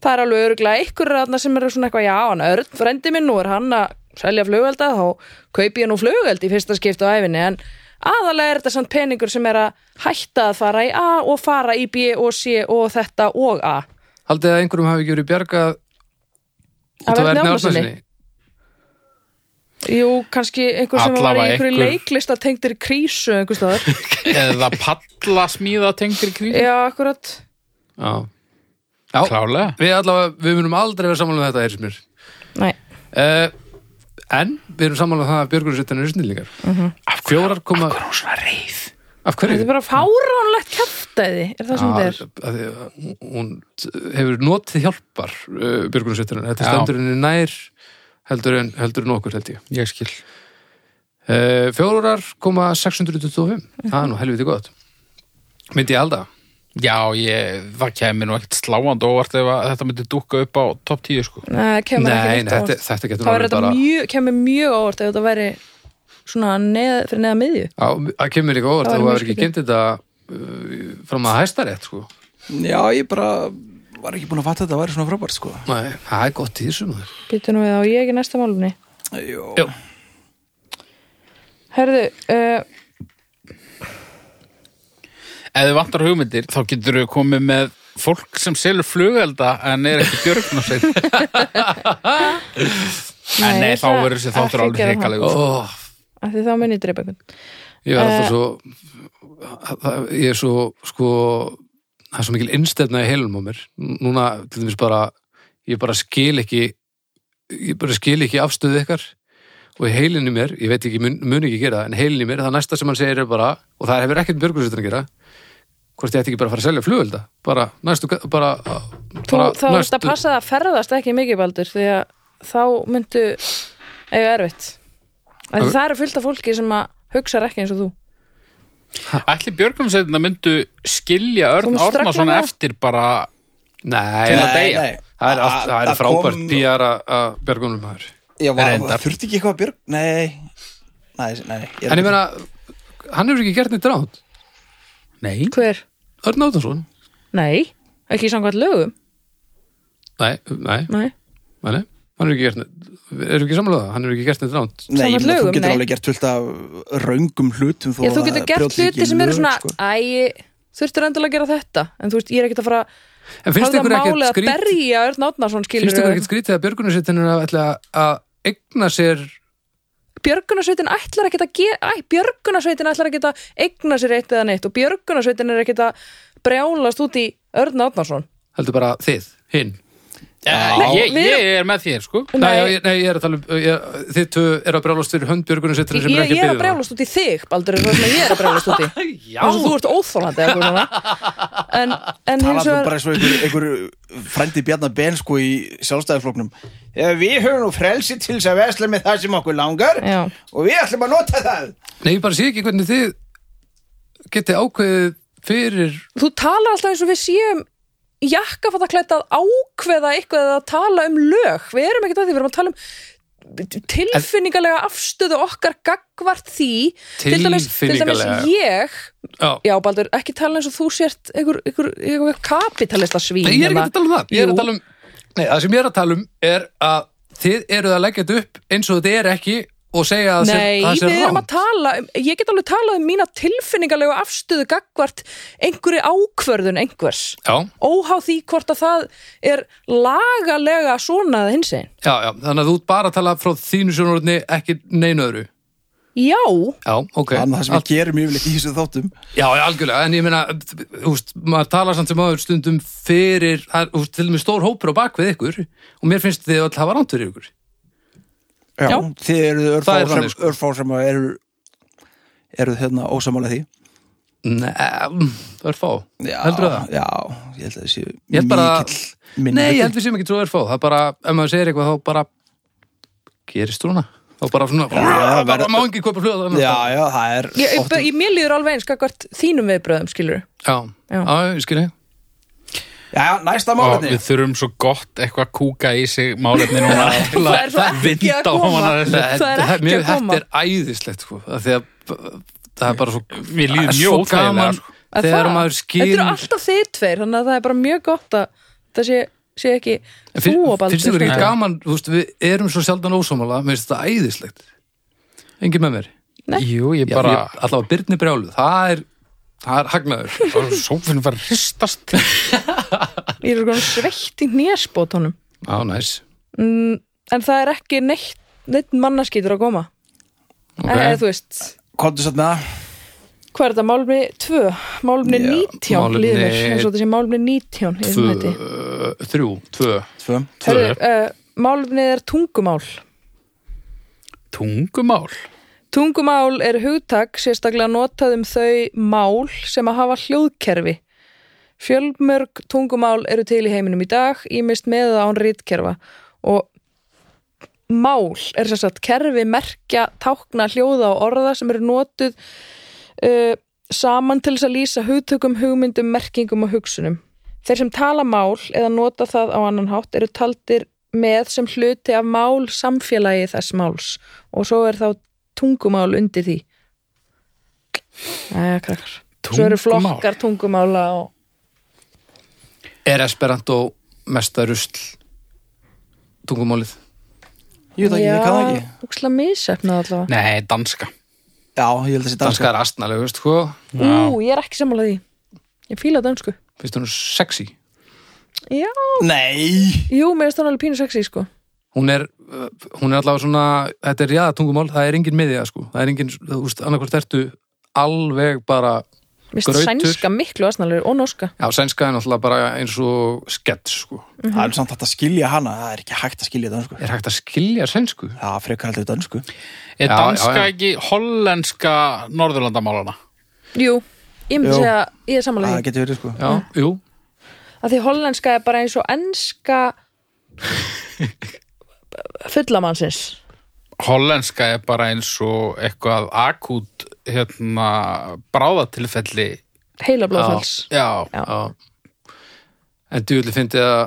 það er alveg öruglega ykkur ræðna sem eru svona eitthvað já, hann Örn, frendi minn, nú er hann að selja flugelda, þá kaupi ég nú flugeld í fyrsta skipta á æfinni, en aðalega er þetta samt peningur sem er að hætta að fara í A og fara í B og C og þetta og A
Haldið að einhverjum hafi ekki verið bjargað út af
Erni
Erni
Árnasyni?
Árnasyni?
Jú, kannski einhver sem var í
Allavega
einhverju
einhver-
leiklista tengdir krísu einhvers staðar.
Eða palla smíða tengdir kvíð.
Já, akkurat.
Já, Já.
Klálega.
Við allavega, við munum aldrei vera sammála um þetta, heyrðis mér.
Nei.
Uh, en við erum sammála um það að björgunarsveitin eru snillingar. Af fjórar koma...
Hvað er hún svona reið?
Af
Þetta
hverju?
Mhm. er bara fáránlegt kæftæði, er það sem þetta er.
Af- af því að hún- Hún hefur notið hjálpar uh, björgunarsveitinu. Þetta
Já.
stendur henni nær heldur en, heldur en okkur, held ég.
Ég skil.
Uh, fjórar koma 625.
Mhm.
Það er nú helviti gott. Myndi ég halda.
Já, ég, það kemur nú ekkert sláandi óvart ef að þetta myndi dúkka upp á topp 10 sko.
Nei, það kemur
Nei,
ekki
nei,
neitt
þetta,
óvart.
þetta getur
Það
nú
verður
alveg
þetta mjög, kemur mjög óvart ef þetta væri svona neð, fyrir neða miðju.
Já, það kemur líka óvart að
Það
þú
væri mjög
hefur ekki
skrítið.
kynnt þetta uh, fram að hæsta rétt, sko.
Já, ég bara var ekki búin að fatta að þetta væri svona frábært sko
Nei, það er gott í þessu maður.
Býtu nú við á ég í næsta málunni
Jó,
Jó.
Herðu, uh,
Ef þið vantar hugmyndir, þá getur þau komið með fólk sem selur flugelda en er ekki björgunarsveit. en nei,
ég
þá
ætla
verður þessi
ekki
þáttur alveg
gera það.
hreikalegur.
Ó,
af því þá mun ég dreipa einhvern
ég er
Eh.
alltaf svo, það- ég er svo, sko, það er svo mikil innstefna í heilum á mér. Núna, til dæmis bara, ég bara skil ekki, ég bara skil ekki afstöðu ykkar og í heilinni mér, ég veit ekki, mun, mun ekki gera það, en heilinni mér, það næsta sem hann segir er bara, og það hefur ekkert björgursveitin að gera, hvort ég ætti ekki bara að fara að selja flugölda, bara næstu, bara,
Þú,
bara
þá er þetta að passa það að ferðast ekki mikið baldur því að þá myndu eiga erfitt Af því
Ok.
það eru fullt af fólki sem að hugsa ekki eins og þú
Ætli björgunarsveitina myndu skilja
Þú
Örn
mást
Árnason
ströggla með.
eftir bara
Nei,
Til að
nei,
deyja.
nei.
það er, allt, það er
Að- að
frábært
kom-
PR að- að björgunum maður.
Ég var,
Reyndar.
þurfti ekki eitthvað að björg Nei, nei, nei ég er
En
ekki-
ég meina, hann hefur ekki gert neitt rátt.
Nei,
Hver?
Örn Átonsson?
Nei, ekki samkvæmt lögum
Nei, nei,
Nei.
nei, nei, hann hefur ekki gert neitt, erum ekki samlega það, hann hefur ekki gert neitt rátt.
Nei, ég
samkvæmt
meina,
lögum,
þú getur
nei.
alveg gert fullt af raungum hlutum þó
Já,
að
þú
það
getur gert
brjóti ekki
hluti sem eru
lög,
svona
sko.
Æ, þurftur endilega að gera þetta En þú veist, ég er ekkert að fara
En finnst
Hafða
ykkur
málið
ekkert
að
skrít,
berja Örn Átnarsson skilur
finnst ykkur ekkert skrítið að björgunarsveitin er að ætla að egna sér,
Björgunarsveitin ætlar ekkert að gera Æ, björgunarsveitin ætlar ekkert að eigna sér eitt eða neitt Og björgunarsveitin er ekkert að brjálast út í Örn Átnarsson
heldur bara þið, hinn?
Eh, ég,
við-
ég er með þér, sko.
Nei, nei, nei ég er að tala um, ég, þið tvö eru að brjálast fyrir hönd björgunarsveitin
Ég,
sem er ekki
ég er að
byggðið það.
brjálast út í þig, Baldur er það sem ég er að brjálast út í
Já,
Þannig að þú ert óþólandi eða eitthvað svona En,
Talar
en hins
þú
vegar
bara svo einhver, einhver frendi Bjarnar Ben sko í sjálfstæðisfloknum Ef við höfum nú frelsi til þess að vesla með það sem okkur langar
Já.
og við ætlum að nota það
nei, ég bara sé ekki hvernig þið geti ákveðið fyrir
Þú talar alltaf eins og við séum jakkafattaklætt að ákveða eitthvað eða að tala um lög Við erum ekkert að því, við erum að tala um tilfinningalega afstöðu okkar gagvart því Til dæmis- til dæmis
Tilfinningalega.
ég
Já.
Já, Baldur, ekki tala eins og þú sért einhver, einhver, einhver kapitalista svín
Nei, ég er ekki að tala um það Ég er
Jú.
að tala um Nei, það sem ég er að tala um er að þið eruð að leggja þetta upp eins og þetta er ekki og segja að
Nei,
um það
við
sé
erum að
rátt
tala um, ég get alveg talað um mína tilfinningalegu afstöðu gagvart einhverju ákvörðun einhvers
Já,
óhá því hvort að það er lagalega svona eða hins einn
já, já, þannig að þú ert bara að tala frá þínu sjónurni ekki neinu öðru
Já,
Já, ok
Þannig að það sem
Al-
við gerum yfirleitt í þessu þáttum
Já, já, algjörlega, en ég meina húst, maður talar samt sem áður stundum fyrir, það er, húst, til og með stór hópur á bak við ykkur og mér finnst þið að hafa ránt fyrir ykkur
Já,
Já.
þið eruð örfá
Það er
sem,
þannig, sko.
örfá sem að eru eruð hérna ósamála því
Nei, mm, það er fá
Já,
Heldurðu það?
Já, ég held að það séu
Ég held bara
mikill minni
Nei, ég held við séum ekki svo erfá Það er bara, ef maður segir eitthvað þá bara gerist núna þá bara svona,
það verður-
bara má ekki kaupa flug
Já, já, það er
ég, ég, ég mér líður alveg eins gagvart þínum viðbröðum skilur
já,
Já.
já, ég skil ég
Já, næsta
Og
málefni
við þurfum svo gott eitthvað að kúka í sig málefni núna til
Það er svo
að
ekki
vinda
að
á
koma.
hana þessu.
Það er ekki
mér,
að koma.
Þetta er æðislegt, sko af því að það er bara svo
Mér líður
það er
mjög
svo
óþægilega,
gaman
sko.
Að
þegar
það-
maður
Þetta
skýr
eru alltaf þið tveir, þannig að það er bara mjög gott að það sé, sé ekki þú og Baldur
finnst ykkur ekki
skilurðu.
gaman, þú veist, við erum svo sjaldan ósámála, mér finnst þetta æðislegt engin með mér
Jú, ég
Já,
bara...
ég, allavega Byrni Brjálu, það er það er hagnaður
Sófinn var hristast
Ég er svona sveitt í nésbót honum
á, næs
mm, En það er ekki neitt, neitt mannaskýtur að koma
Ok.
okay. Eða þú veist
Komdu satt með það
Hvað er þetta? Málumni 2? Málumni
Já,
19
málefni-
líður mér, eins og þetta sé málumni 19 í þessum
tvö,
hætti.
uh, þrjú, tvö
Tvö
tvö.
Herðu, uh, Málumni er tungumál.
Tungumál
Tungumál er hugtak sérstaklega notað um þau mál sem að hafa hljóðkerfi. Fjölmörg tungumál eru til í heiminum í dag, ímist með eða án rítkerfa og mál er sem sagt kerfi merkja, tákna, hljóða og orða sem eru notuð uh, saman til þess að lýsa hugtökum, hugmyndum, merkingum og hugsunum. Þeir sem tala mál eða nota það á annan hátt eru taldir með sem hluti af mál samfélagi þess máls og svo er þá tungumál undir því. Æja, krakkar. Svo eru
Tungumál.
flokkar tungumála og
Er Esperanto mesta rusl tungumálið?
Ég veit ekki, ég kann það ekki
úksla misefnað allavega
Nei, danska
Já, ég held að sé danska
Danska er astnalegu, veist hvað?
Ú, ég er ekki sammála því Ég fíla dönsku
Finnst hún sexy?
Já,
Nei,
jú, mér er stónalega pínu sexy, sko
Hún er, uh, hún er allavega svona, þetta er jáða tungumál, það er engin miðja, sko. Það er engin, þú veist, annarkvort ertu alveg bara,
Mér er
Grautur.
sænska miklu aðsnalegur og norska
já, sænska er náttúrulega bara eins og skett, sko.
það er samt hægt að skilja hana Það er ekki hægt að skilja dansku
Er hægt að skilja sænsku?
Já, frekar heldur dansku
Er
Já,
danska
já, já.
ekki hollenska norðurlandamálana?
Jú, ég myndi
Jú.
segja, ég er sammála
Ah,
Það
því
getur verið sko
Já, jú.
að Því hollenska er bara eins og enska fullamannsins
Hollenska er bara eins og eitthvað akút hérna, bráðatilfelli
Ah.
Heila blóðfalls
Já,
Já.
Já. En djúli fyndi að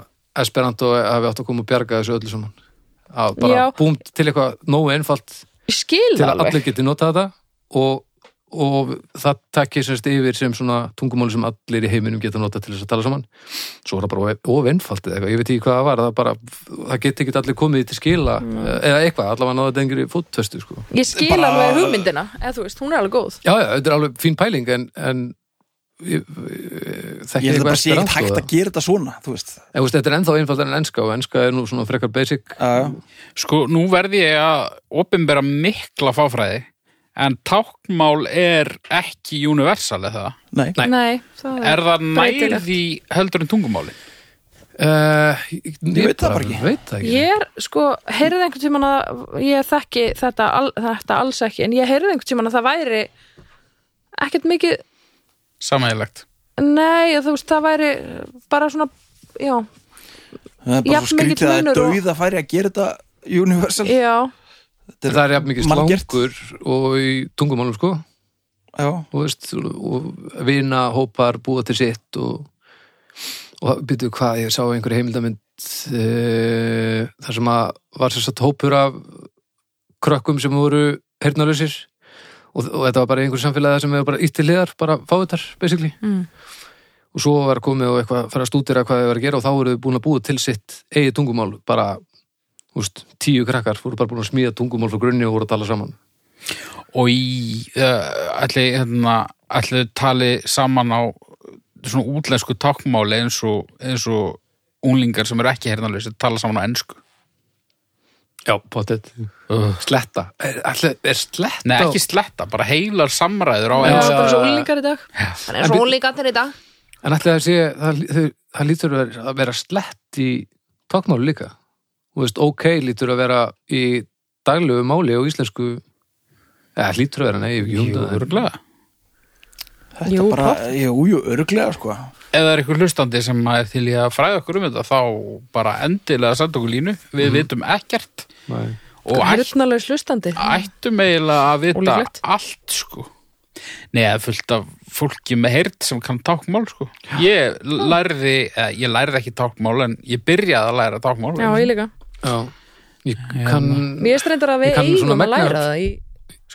Esperanto hafi átt að koma og bjarga þessu öllu saman. Að bara
Já.
búm til eitthvað nógu einfalt
Ég skil
til
það
að
alveg
allir geti notað þetta og, og það takki sérst yfir sem svona tungumáli sem allir í heiminum geta notað til þess að tala saman svo er það bara of einfalt eða eitthvað, ég veit ekki hvað það var það, bara, það geti ekki allir komið því til skila eða eitthvað, allavega náða þetta engri fótfestu sko.
Ég skil
Bara-
alveg hugmyndina, eða þú veist, hún er alveg góð
já, já, þetta er alveg fín pæling en, en ég,
Ég
þekki
held að bara sé ekkert
esperantó,
hægt
eða?
að gera þetta svona Þú veist
sko. En, þú veist, þetta er ennþá einfaldar en enska og enska er nú svona frekar basic
Já,
sko nú verði ég að opinbera mikla fáfræði en tákmál er ekki universal eða það.
nei
Nei.
Nei, það er
Er það
Breytilegt.
nærði heldur en tungumáli?
uh, ég,
Ég veit það bara ekki.
veit það ekki.
Ég er, sko, heyrði einhvern tímann að ég þekki þetta, al, þetta alls ekki en ég heyrði einhvern tímann að það væri ekkert mikið,
Samægilegt.
nei, þú veist, það væri bara svona, já,
Það er bara
Jafn
svo
mikill
skrítið að
munur og-
dauða færi að gera þetta universal
já
Þetta
það er jafn mikið
manngert.
slangur og í tungumálum sko
Já,
og, veist, og vina hópar búa til sitt og, og byrju hvað, ég sá einhverju heimildamind uh, þar sem að var sér satt hópur af krökkum sem voru hernalösir og, og þetta var bara einhver samfélagi sem hefur bara ítt til liðar, bara fáutar basically
mm.
og svo var komið og eitthvað að fara að stúdira hvað þau var að gera og þá voru þau búin að búa til sitt eigið tungumál, bara úst, tíu krakkar, voru bara búin að smíða tungumál frá grunni og voru að tala saman
Og í, uh, ætli, hérna, ætli þau tali saman á svona útlensku tákmáli eins og, eins og unglingar sem eru ekki hernalösi tala saman á ensku.
Já, pottet Sletta, er, ætli- er sletta
Nei, ekki sletta, bara heilar samræður á
það
ensku.
er bara
já,
svo
já.
úlingar í dag hann
En
er svo
bíddu-
úlingarnir í dag
En ætli það sé, það, þau- það lítur að vera- að vera slett í tókmálu líka. Þú veist, ok lítur að vera í daglegu máli og íslensku, eða lítur að vera, nei, ég
Jú,
hjónda um það.
örugglega.
þetta
Jú,
bara, jú, jú, örglega sko
Ef það er eitthvað hlustandi sem að er til í að fræða okkur um þetta þá bara endilega senda okkur línu við vitum ekkert
Nei.
og ætt,
hérnalega slustandi
ættum eiginlega að vita
Ólíklegt.
allt sko Nei, það er fullt af fólki með heyrt sem kann tákmál sko Ég lærði, eh, ég lærði ekki tákmál en ég byrjaði að læra tákmál
já, ég líka
Já, ég kann,
mér er streyndar að
Ég
við
kann svona
eigum að
megna-
læra það í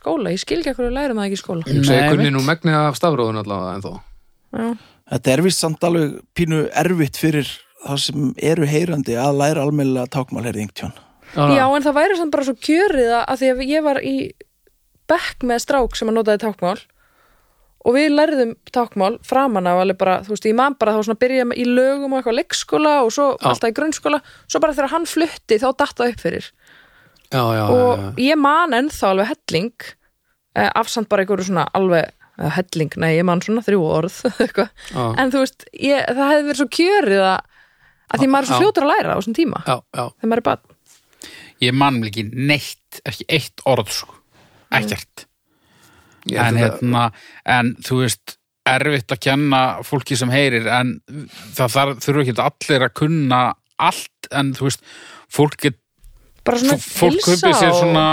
skóla ég skil ekki ekkur að læra það ekki í skóla
ég segi
Nei,
kunni
einmitt.
nú megni af stafróðun allavega en þó.
já,
Þetta er vist samt alveg pínu erfitt fyrir þá sem eru heyrandi að læra almennilega tákmál heyrði yngtjón
já en það væri samt bara svo kjörið að, að því að ég var í bekk með strák sem að notaði tákmál og við lærðum tákmál framan af alveg bara, þú veist, ég man bara þá svona byrja í lögum og eitthvað leikskóla og svo
Já.
alltaf í grunnskóla, svo bara þegar hann flutti þá datta upp fyrir
já, já, já, já.
og ég man ennþá alveg helling eh, afsamt bara einhverju svona alveg eh, helling, nei ég man svona þrjú orð eitthvað,
Já.
en þú veist ég, það hefði verið svo kjörið að, að því maður er svo
Já.
fljótur að læra á þessum tíma
Já, já,
þegar maður er bara,
Ég mann ekki neitt, ekki eitt orð sko Ekkert
ég
en,
held að þetta-
hérna, en þú veist erfitt að kenna fólki sem heyrir en það þarf, þurfa ekki allir að kunna allt en þú veist, fólk get,
bara svona
fólk kaupir sér svona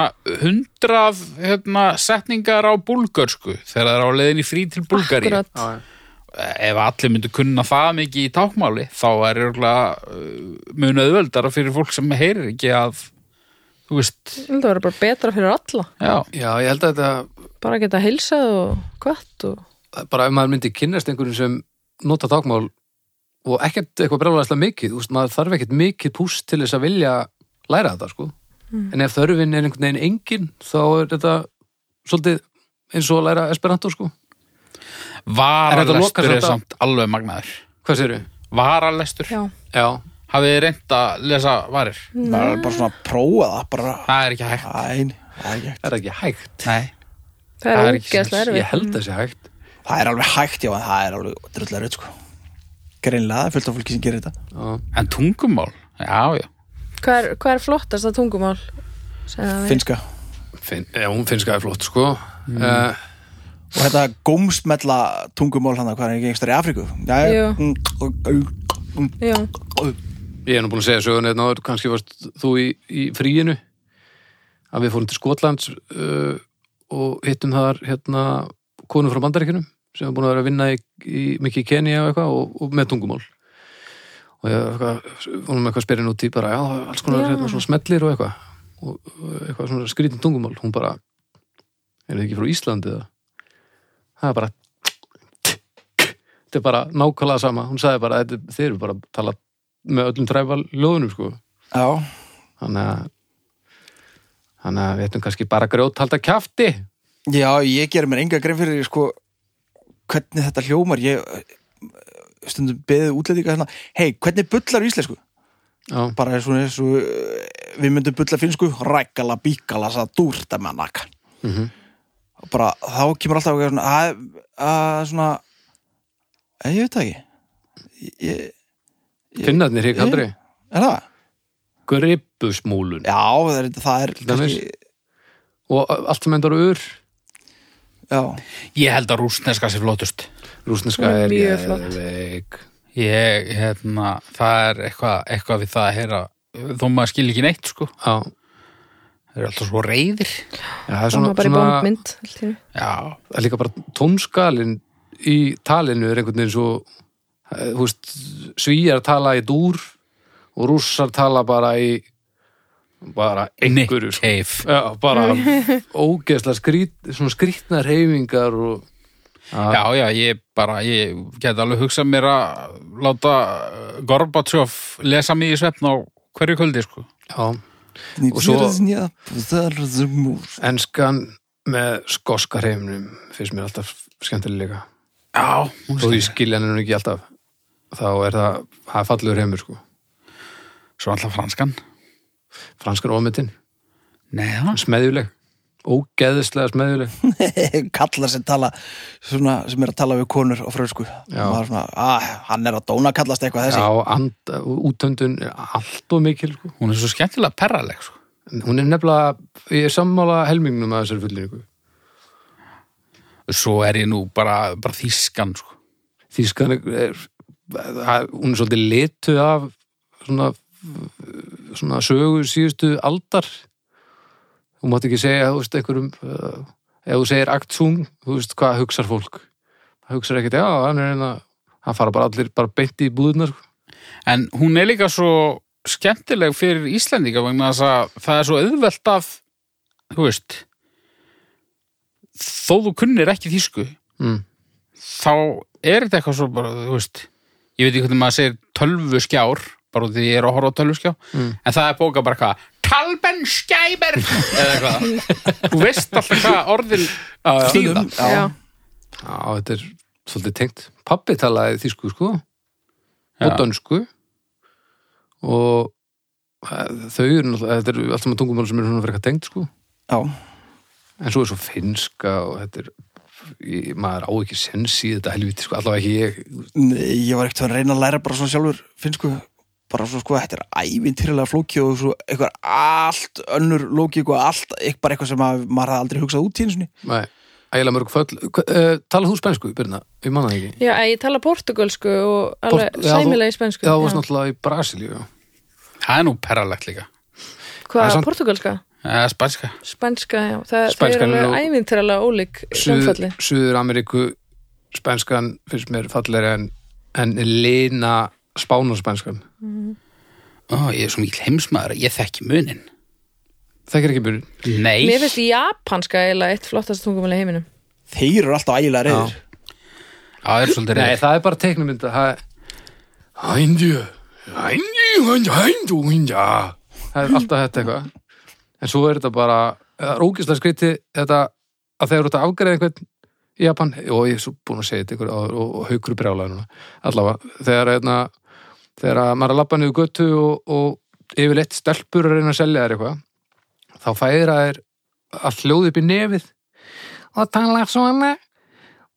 hundrað hérna, setningar á búlgörsku þegar það er á leiðin í frí til búlgari
Akkurat.
Já, já.
ef allir myndu kunna það mikið í tákmáli þá er örugglega, uh, mun auðveldara fyrir fólk sem heyrir ekki að þú veist,
það verður bara betra fyrir alla
já
já, ég held að þetta
bara að geta heilsað og hvað og
bara ef maður myndi kynnast einhverjum sem nota tákmál og ekkert eitthvað brjálæðislega mikið þú veist, maður þarf ekkert mikið púst til þess að vilja læra þetta sko en ef þörfin er einhvern veginn engin þá er þetta svolítið eins og að læra Esperanto sko lokar
Varalestur
samt
er
á-
samt alveg magnaður
hvað séru?
Varalestur
já,
Já,
Hafið þið reynd að lesa varir?
maður er bara svona að prófa það bara,
Það er ekki hægt
æn, það, er ekki hægt.
er það ekki hægt
Nei,
það
Það
er
er ekki
ógeðslega
sens.
erfið
ég held það sé hægt
það er alveg hægt já, en það er alveg drullar ut sko greinlega, það er fullt af fólki sem gerir þetta
Já.
en tungumál Já, já
hvað er, hvað er flottasta tungumál? Sagði
finnska,
Finn, já, hún finnska er flott sko mm.
og þetta gómsmella tungumál hann, hvað er ekki einhverstað í Afríku já,
Jú.
já,
Já,
ég er nú búin að segja sögun einn áður kannski varst þú í, í fríinu að við fórum til Skotlands uh, og hittum þar hérna konu frá bandaríkjunum sem er búin að vera að vinna í, í mikið í Kenya og eitthvað og, og með tungumál og ég eitthvað, hún er með eitthvað spyrin út í bara já, alls konar
Já.
hérna, svona smellir og eitthvað og og eitthvað svona skrítin tungumál hún bara, er þið ekki frá Íslandi eða? það er bara þetta er bara nákvæmlega sama hún sagði bara, þetta, er- þið eru bara að tala með öllum træfal ljóðunum sko þannig að þannig að við ættum kannski bara grjót halda kjafti
já, ég gerir mér enga grein fyrir sko, hvernig þetta hljómar ég eh, stundum beðið útlendinga hérna, hei, hvernig bullar í íslensku?
já,
bara svona eins og uh, við myndum bulla finnsku, rækala, bíkala það dúrta með nakka
Mhm.
og bara þá kemur alltaf eitthvað svona, að, að svona að, ég veit það ekki ég,
finnarnir higg aldrei
er það?
gripusmúlun
Já, það er, það er kannski,
og allt sem endur ur
já,
Ég held að rústneska sé flottust
rúsneska
Hún er
er
mjög flott.
geðveik.
Ég, hérna, það er eitthvað, eitthvað við það að heyra þó maður skil ekki neitt, sko
já,
Það eru alltaf svo reyðir
Já, það er
það
svona,
var bara í
svona
bóndmynd allt í einu.
Já,
það er líka bara tónskalin í talinu er einhvern veginn svo eh, þú veist, svíjar tala í dúr og rússar tala bara í bara
Nick
einhverju sko.
Cave
Já, bara ógeðslega skrít, svona skrítna reyfingar og
Já, já, ég bara, ég get alveg hugsað mér að láta uh, Gorbatsjóf lesa mig í svefn á hverju kvöldi, sko
já,
og
svo-
svo
enskan með skoska reyfinum finnst mér alltaf skemmtilega
Já, hún
og
skil
ég skilja henni nú ekki alltaf þá er það, það er fallegur reyfur sko
Svo alltaf franskan
franskan ómyndin,
Nei, það
smeðjuleg ógeðslega smeðjuleg
kallar sem tala svona, sem er að tala við konur og frösku
Já.
og maður svona, að, hann er að dóna kallast eitthvað þessi
já, and, útöndun er allt og mikil sko.
Hún er svo skemmtilega perraleg, sko
hún er nefnilega, ég er sammála helmingnum að þessari fullinningu
Svo er ég nú bara, bara þýskan, sko
þýskan er, er, það- hún er svolítið litu af svona, svona sögu síðustu aldar þú mátt ekki segja þú veist, einhverjum uh, ef þú segir aktsung, þú veist hvað hugsar fólk það hugsar ekkert, já, hann er einna hann fara bara allir bara beint í sko. búðunar
En hún er líka svo skemmtileg fyrir Íslendinga vegna þess að það er svo auðvelt af, þú veist, þó þú kunnir ekki þýsku,
mm.
þá er þetta eitthvað svo bara, þú veist, ég veit ekki hvernig maður segir tölvuskjár, bara út af því ég er að horfa á tölvuskjár,
Mm.
en það er bóka bara hvað, Talbenskæber, eða eitthvað. þú veist alltaf hvað orðin þýða.
Stundum, já.
Já.
já, þetta er svolítið tengt pappi talaði þýsku, sko og dönsku og eh, þau eru náttúrulega, þetta eru allt saman tungumál sem eru svona frekar tengt, sko
já,
En svo er svo finnska og þetta er, ég, maður á ekki sens í þetta helviti, sko, allavega ekki ég.
Nei, ég var ekkert að reyna að læra bara svona sjálfur finnsku, bara svona sko þetta er ævintýrlega flóki og svo eitthvað allt önnur lóki og allt eitthvað bara eitthvað sem að, maður hafði aldrei hugsað út í einsinni.
Nei, ægilega mörg föll. Uh, Talað þú spænsku, Birna? Ég manna það ekki.
já, en ég tala portugalsku og alveg
Port- já, þú-
sæmilega í spensku
Já, það varst náttúrulega í Brasilíu, já.
Það er nú perralegt líka.
Það er
hvað,
samt-
portugalska?
Eða spænska.
Spænska, já, það, það er
Spænskan er
alveg
nú-
ævintýralega ólík hljónfalli
Suður Ameríku spænskan finnst mér fallegri en, en Lina Spánarsspænskan.
Ó, ég er svo mýl heimsmaður, að ég þekki munin.
Þekkir ekki byrjun?
Nei.
Mér finnst japanska eiginlega eitt flottast tungumál í heiminum
Þeir eru alltaf ægilega reyðir.
Já, það er svolítið
Nei,
reyð.
það er bara teiknumynda. Það, Hændjö, hændjö, hændjö, hændjö, hændjö. Það er alltaf þetta eitthvað. En svo er þetta bara, rókislega skriti þetta að þegar þú ert að afgreða einhvern í Japan, og ég er svo búin að segja þetta ykkur áður og, og haukur brjálaði núna, allavega, þegar, hérna, þegar að maður er að labba niður götu og, og yfirleitt stelpur að reyna að selja þér eitthvað, þá færa þér að hljóði upp í nefið og tala svona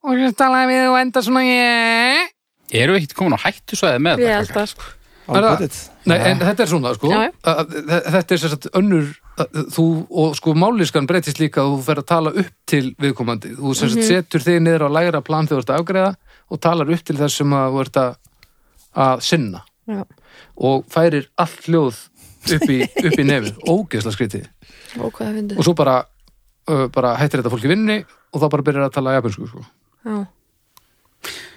og svo tala við og enda svona ég
Eru við ekkert komin á hættu svæði með
Ég
þetta?
held
krakkar?
að sko
Er það-
All got it.
Nei, en þetta er svona, sko
Já, já.
að- að- Þetta er sér sagt önnur að- þú, og sko mállískan breytist líka að þú fer að tala upp til viðkomandi þú sem
Mhm.
sagt setur þig niður á lægra plan þegar þú ert að afgreða og talar upp til þess sem að þú ert að, að sinna
Já.
og færir allt hljóð upp í, upp í nefið, ógeðsla skrítið
Ó, hvað það fyndi
og svo bara, uh, bara hættir þetta fólki vinni og þá bara byrjar að tala japansku sko.
Já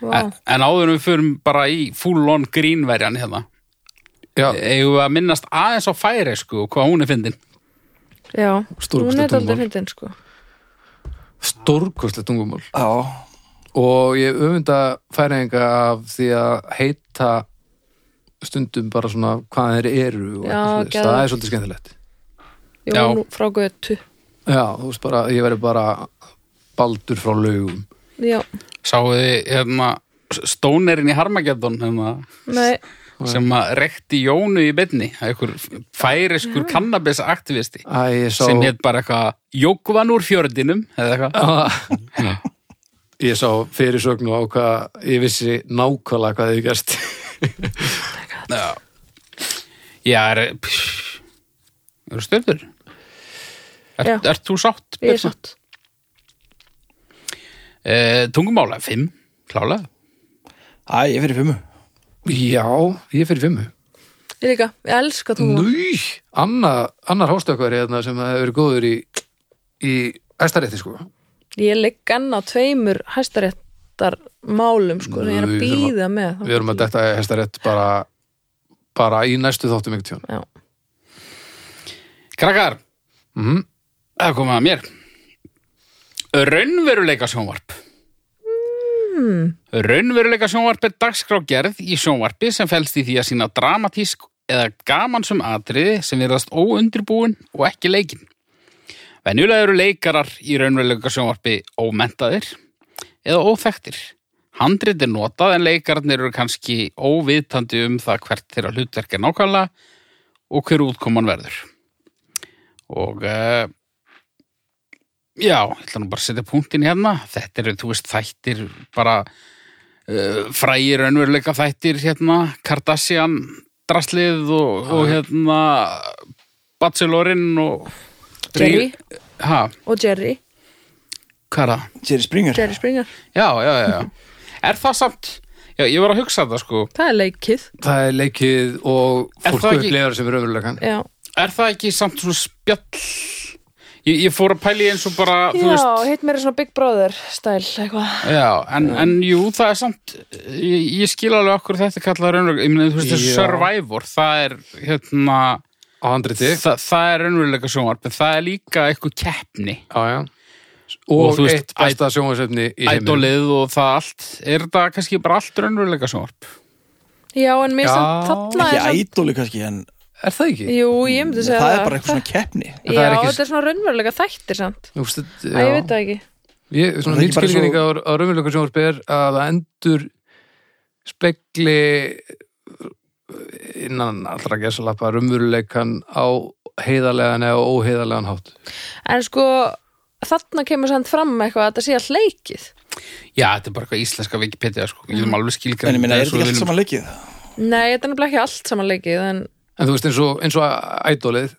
Vá.
En, en áður en við förum bara í full on grínverjan hérna.
Já,
Eigum við að minnast aðeins á færi sko og hvað hún er fyndin.
Já,
Stórkostlegt
hún er daldið
tungumál.
fyndin sko
stórkostlega tungumál
Já,
og ég öfunda færinga af því að heita stundum bara svona hvað þeir eru og
Já,
eitthvað svoleiðis.
geðveikt.
það er svolítið skemmtilegt
Já.
Jón frá götu
já, þú veist bara, ég verið bara baldur frá laugum
Já,
Sáuð þið hérna stónerinn í Harmageddon hérna,
nei,
sem að rekti Jónu í beinni einhver færiskur kannabisaktivisti
Æ, ég sá
sem hétt bara eitthvað Jókvan úr fjördinum eða eitthvað
Já. ég sá fyrirsögn og ákvað ég vissi nákvæmlega hvað þið gerst
Já, já er, pff, eru stöldur? Er,
Já.
Ert þú sátt?
ég er satt
Uh, tungumála, fimm, klálega.
Æ, ég fyrir fimmu
já, ég fyrir fimmu
Ég líka, ég elska tungumál
Núi, annar, annar hástökkveri hérna sem hefur verið góður í, í æstarétti sko
Ég ligg enn á tveimur hæstaréttar málum sko sem ég er að
Nei, við þurfum að-
býða með
Við erum að detta hestarétt bara, bara í næstu þáttum ykkur tjón.
Já,
Krakkar,
Mm -hmm.
það komið að mér. Raunveruleika sjónvarp.
Hmm.
Raunveruleika sjónvarp er dagskrágerð í sjónvarpi sem fælst í því að sína dramatísk eða gamansum atriði sem verðast óundirbúin og ekki leikinn. Venjulega eru leikarar í raunveruleika sjónvarpi ómentaðir eða óþekktir. Handrit er notað en leikararnir eru kannski óvitandi um það hvert þeirra hlutverk er nákvæmlega og hver útkoman verður. Og uh, já, ég ætla nú bara að setja punktin hérna. Þetta eru, þú veist, þættir bara uh, frægir önveruleika þættir hérna, Kardashian draslið og, og hérna Bachelorinn og
Jerry
Ha,
og Jerry
hvað er það?
Jerry Springer
Jerry Springer,
Já, já, já, já. Er það samt? Já, ég var að hugsa þetta sko.
það er leikið
Það er leikið og
Er
fólk
það ekki-
upplegar sem er ömurlegan.
Já,
Er það ekki samt svona spjall? Ég, ég fór að pæli eins og bara, þú
Já
veist,
hitt mér er svona Big Brother stæl eitthvað
já, en, en jú, það er samt, ég, ég skil alveg okkur þetta kallar raunveruleika, ég meina, þú veist, þessu
Já.
Survivor, það er, hérna,
Á handriti.
það, það er raunveruleika sjónvarp, en það er líka eitthvað keppni,
Já, já.
Og
Og,
þú veist,
eitt besta sjónvarsefni í heiminum.
ædolið og það allt, er þetta kannski bara allt raunveruleika sjónvarp?
Já, en mér
Já.
samt þarna er
Ekki
samt-
ædóli kannski, en
Er það ekki?
Jú, ég
Mm,
myndi segja
það er bara eitthvað svona keppni
það
Já,
er ekki-
þetta er svona raunverulega þættir samt
Þú veist, þetta-
Æ,
já.
ég veit það ekki
Ég,
Er það
svona
ekki bara
nýtskilgjöning á, á raunveruleika sjónvarpi er að það endur spekli eh, innan allra gesalappa raunveruleikan á heiðarlegan eða óheiðarlegan hátt.
En sko, þarna kemur samt fram eitthvað að þetta sé alltaf leikið
Já, þetta er bara eitthvað íslenska Wikipedia, sko, ég vil alveg skilgreina
En ég minna, er þetta ekki
þetta eins og við
allt
viljum-
saman leikið?
Nei, þetta er nefnilega ekki allt saman leikið en
En þú veist eins og, eins og ædólið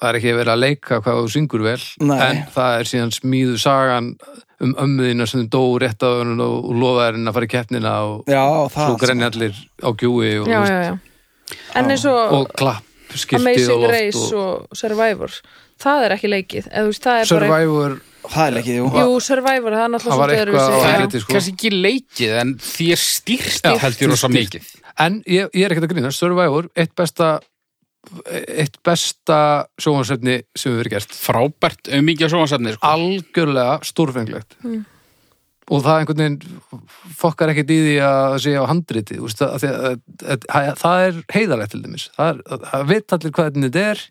það er ekki verið að leika hvað þú syngur vel
Nei.
en það er síðan smíðu sagan um ömmuðina sem þú dó rétt af hennu og lofaði henni að fara í keppnina og
Já, það
svo
allt saman.
grenni allir á gjúi og,
já,
þú
já,
veist,
já En eins og,
og klapp skilti og
Amazing Race
loft og,
og... Survivor það er ekki leikið eða, þú veist, það er bara,
Survivor
Það er leikið, jú
Jú, Survivor, það er náttúrulega
Það var
svolítið
eitthvað á
öðruvísi, já.
Það
Ædolið,
er
sko.
kannski ekki leikið, en því er stýrt,
Já,
held ég
þér
rosa
stýrt.
mikið.
en ég, ég er ekkert að grínast, Survivor eitt besta eitt besta sjóhansefni sem hefur verið gert
frábært auðmíkja sjónvarsefni sko.
algjörlega stórfenglegt og það einhvern veginn fokkar ekkert í því að það sé á handriti úst, að, að, að, að, að, það er heiðarlegt til dæmis það, er, að, að veit allir hvað þetta er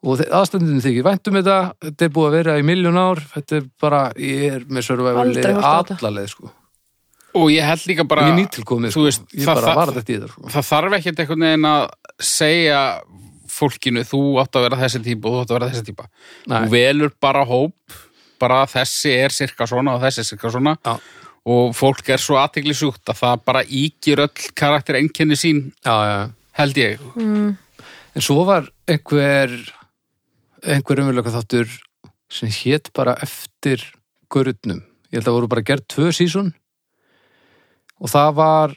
og aðstandinu þykir væntum þetta þetta er búið að vera í miljón ár þetta er bara, ég er með
Aldrei
sörfæfali
horft á þetta.
allaleið sko
og ég held líka
og
bara
ég nýtilkomið
þú
sko,
veist,
ég
það-
bara
það-
var þetta í þér sko.
það þarf ekkert einhvern veginn að segja fólkinu þú átt að vera þessi típa og þú átt að vera þessi típa
Nei.
þú velur bara hóp bara þessi er cirka svona og þessi er cirka svona
Já.
og fólk er svo aðteglisjúkt að það bara ígir öll karakter einkenni sín
já, já, já
held ég
Mm,
En svo var einhver einhver umveruleika þáttur sem hétt bara eftir görutnum. Ég held að voru bara gerð tvö sísun og það var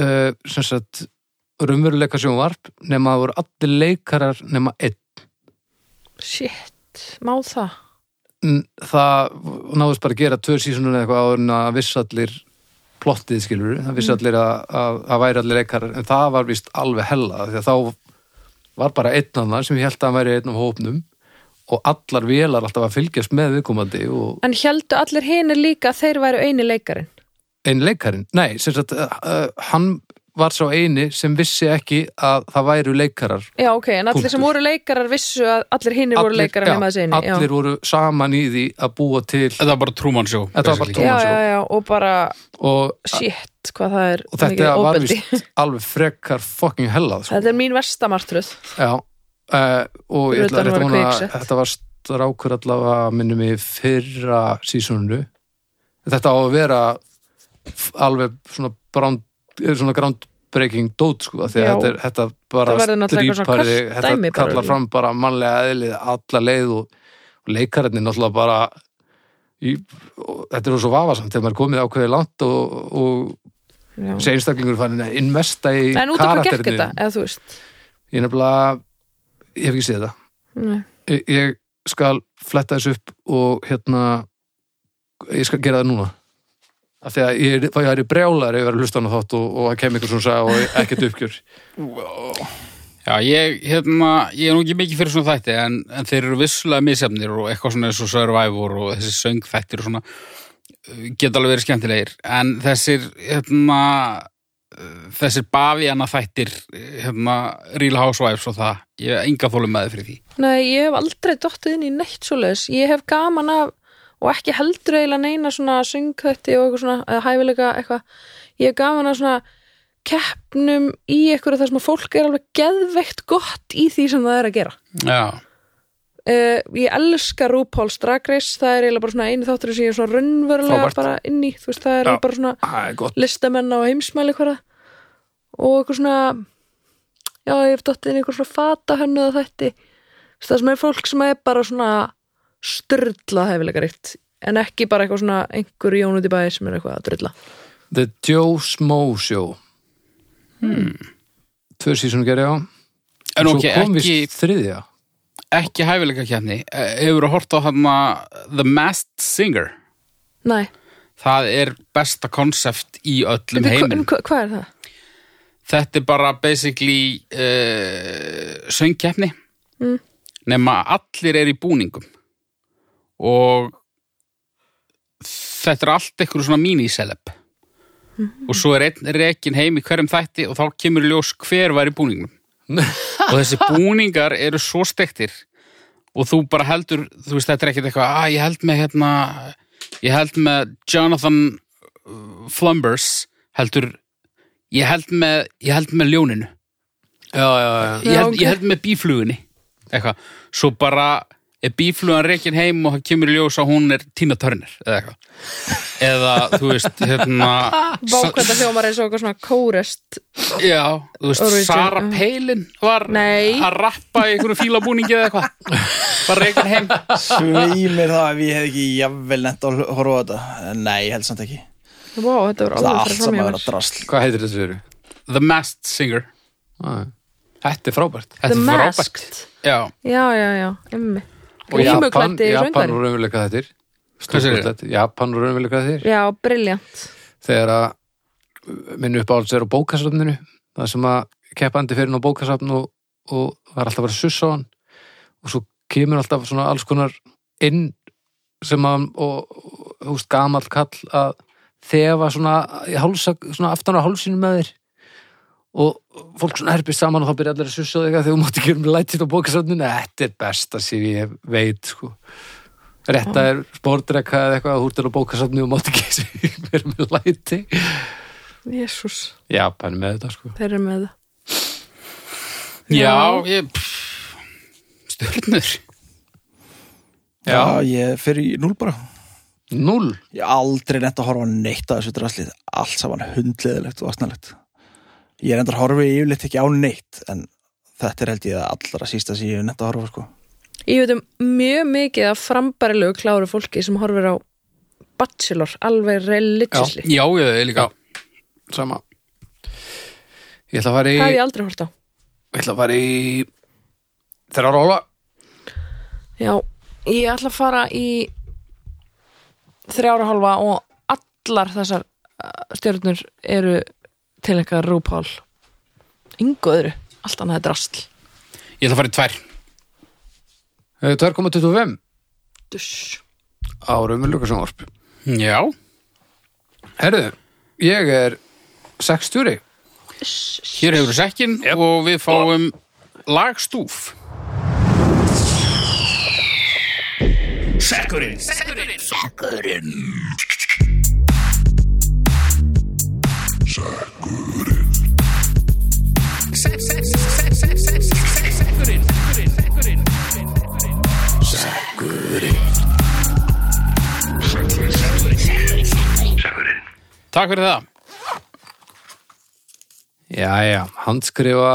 uh, sem sagt raunveruleika sjónvarp nema það voru allir leikarar nema einn.
Shit, má það?
Mm, Það náðist bara að gera tvö sísunum eða eitthvað áður en að viss allir plottið skilur, það
Mm.
viss allir að, að, að væri allir leikarar en það var vist alveg hella því að þá var bara einn af það sem ég held að hann væri einn af hópnum og allar vélar alltaf að fylgjast með viðkomandi og
En heldu allir hinir líka að þeir væru eini leikarinn?
einn leikarinn nei, sem sagt, uh, uh, hann var sá eini sem vissi ekki að það væru leikarar
Já, ok, en allir
Punktur.
sem voru leikarar vissu að allir hinir voru leikarar nema þessi eini.
allir voru saman í því að búa til
þetta var bara trúmann sjó
Þetta var bara
já,
Thomas
já,
Show.
já, já, og bara,
og,
shit, hvað það er
og þetta
mikið
var
ofbeldi.
vist alveg frekar fucking hellað sko.
Þetta er mín versta martröð.
Já, uh, og ég
Fyrir
ætla rétt
utan að
að
vera
vona að
kviksett.
þetta var strákur allavega minnum í fyrra sísonu þetta á að vera f- alveg svona, brand, eh, svona groundbreaking dót sko, af því að
Já.
þetta, er, þetta bara
Það verður náttúrulega eitthvað svona
strípari,
kalt
þetta
dæmi bara
kallar
í-
fram bara mannlega eðlið alla leið og, og leikararnir náttúrulega bara í, og, þetta er svo vafasamt þegar maður er komið ákveðið langt og, og
Já.
þessi einstaklingur fann að investa í
En út af hvað gekk
karakterinni
þetta, eða þú veist?
ég nefnilega, ég hef ekki séð þetta
Nei.
ég, ég skal fletta þessu upp og hérna ég skal gera það núna af því að ég, er- ég er brjálar yfir að hlusta hann á þátt og, og að kem ykkur svona sagði og ekkert uppgjör
Já, ég, hérna, ég er nú ekki mikið fyrir svona þætti en, en þeir eru vissulega misjafnir og eitthvað svona eins og Survivor og þessi söngþættir og svona uh, geta alveg verið skemmtilegir en þessir, hérna, uh, þessir bavíana þættir, hérna, Real Housewives og það, ég er enga þólum með fyrir því.
Nei, ég hef aldrei dottið inn í neitt svoleiðis. Ég hef gaman af og ekki heldur eiginlega neina svona syngkvætti og eitthvað svona, eða hæfilega eitthvað. Ég hef gaman af svona keppnum í eitthvað þar sem að fólk er alveg geðveikt gott í því sem það er að gera.
Já,
Uh, ég elska RuPaul's Drag Race, það er eiginlega bara svona einu þáttur sem ég er svona raunverulega
Frábært.
bara inn í, þú veist, það er
Já.
bara svona
Það er gott
listamenn á heimsmæli hverða og eitthvað svona já, ég hef dottið inn í eitthvað svona fata hönnuða þætti Þess, það sem er fólk sem er bara svona styrla hefilegaríkt en ekki bara eitthvað svona einhver jón út í bæði sem er eitthvað að drilla
The Joe Smo Show hmm. Tvö sísunum gerði á
en
Svo
ok,
kom
ekki,
við þriðja
ekki hæfileika kjarni, hefur að horta á þarna The Masked Singer.
Nei,
Það er besta konsept í öllum
Bíddu, hva-
heiminum.
en hva, hvað er það?
þetta er bara basically uh, söngkeppni nema allir er í búningum og þetta er allt einhverju svona míniseleb og svo er einn rekin heim í hverjum þætti og þá kemur í ljós hver var í búningum og þessi búningar eru svo stektir og þú bara heldur þú veist þetta er ekkert eitthvað að ég held með hérna ég held með Jonathan uh, Flumbers heldur ég held með, ég held með ljóninu
Já, já, já,
ég
Já,
held,
ok.
ég held með bíflugunni eitthvað, svo bara er bíflugan reikin heim og það kemur í ljós að hún er Tina Turner eða eitthvað eða þú veist hérna Sa-
Vákvæmt að hljómar eins og eitthvað svona kórest
já, þú veist,
Origin,
Sara
já.
Palin var
Nei.
að rappa í einhverju fílabúningi eða eitthvað var reikin heim
Sveimir það að ég hef ekki jafnvel nefnt að horfa á þetta En Nei, ég held samt ekki
Vá, þetta
Það
voru
er
alveg
allt
fyrir
saman að
framhjóðar
vera drasl
hvað heitir þetta fyrir?
The Masked Singer
Þetta er frábært
Þetta
The
er frábært.
Masked
já,
Já, já, já, emmi
Og Japan,
Grímuklæddi
Japan
söngvarinn
og raunveruleika þættir
Hvað segirðu?
Stórkostlegt. Japan og raunveruleika þættir
Já, briljant
þegar að minn uppáhalds er á bókasafninu það sem að keppandi fyrir hann á bókasafn og, og það er alltaf að vera suss á hann og svo kemur alltaf svona alls konar inn sem að og, og húst gamall kall að þefa svona, í hálsa, svona aftan á hálsinu með þér og fólk svona herpist saman og þá byrja allir að sussa á þig að þegar þú mátt ekki um lætið á bókasafninu, þetta er besta sér ég veit sko Retta er spórdrekka eða eitthvað að húrtir á bókasafni og mátt ekki vera með læti.
Jésús,
Já, bænum með þetta sko.
þeir eru með það
Já, ég pff, Stjörnur
Já, ég fer í núl bara
Null.
Ég er aldrei netta að horfa á neitt að þessu draslið Allt saman hundleðilegt og aðsnalegt Ég er enda að horfa yfirleitt ekki á neitt En þetta er held ég að allra sísta sem ég er netta að horfa sko
Ég veit um mjög mikið af frambærilegu kláru fólki sem horfir á Bachelor, alveg religiously
Já, ég er líka
Sama. Ég ætla að fara í...
Það hef ég aldrei hort á
Ég ætla að fara í... Þeirra róla.
Já, ég ætla að fara í þrjára hálfa og allar þessar uh, stjörnur eru til eitthvað rúpál yngu öðru, allt annað er drasl
Ég ætla að fara í tvær
2,25
Duss.
á Raumurlöka sjónvarp.
Já,
Herðu, ég er 6 stjúri.
hér hefur sekkin og við fáum lagstúf Takk fyrir það
Jæja, handskrifa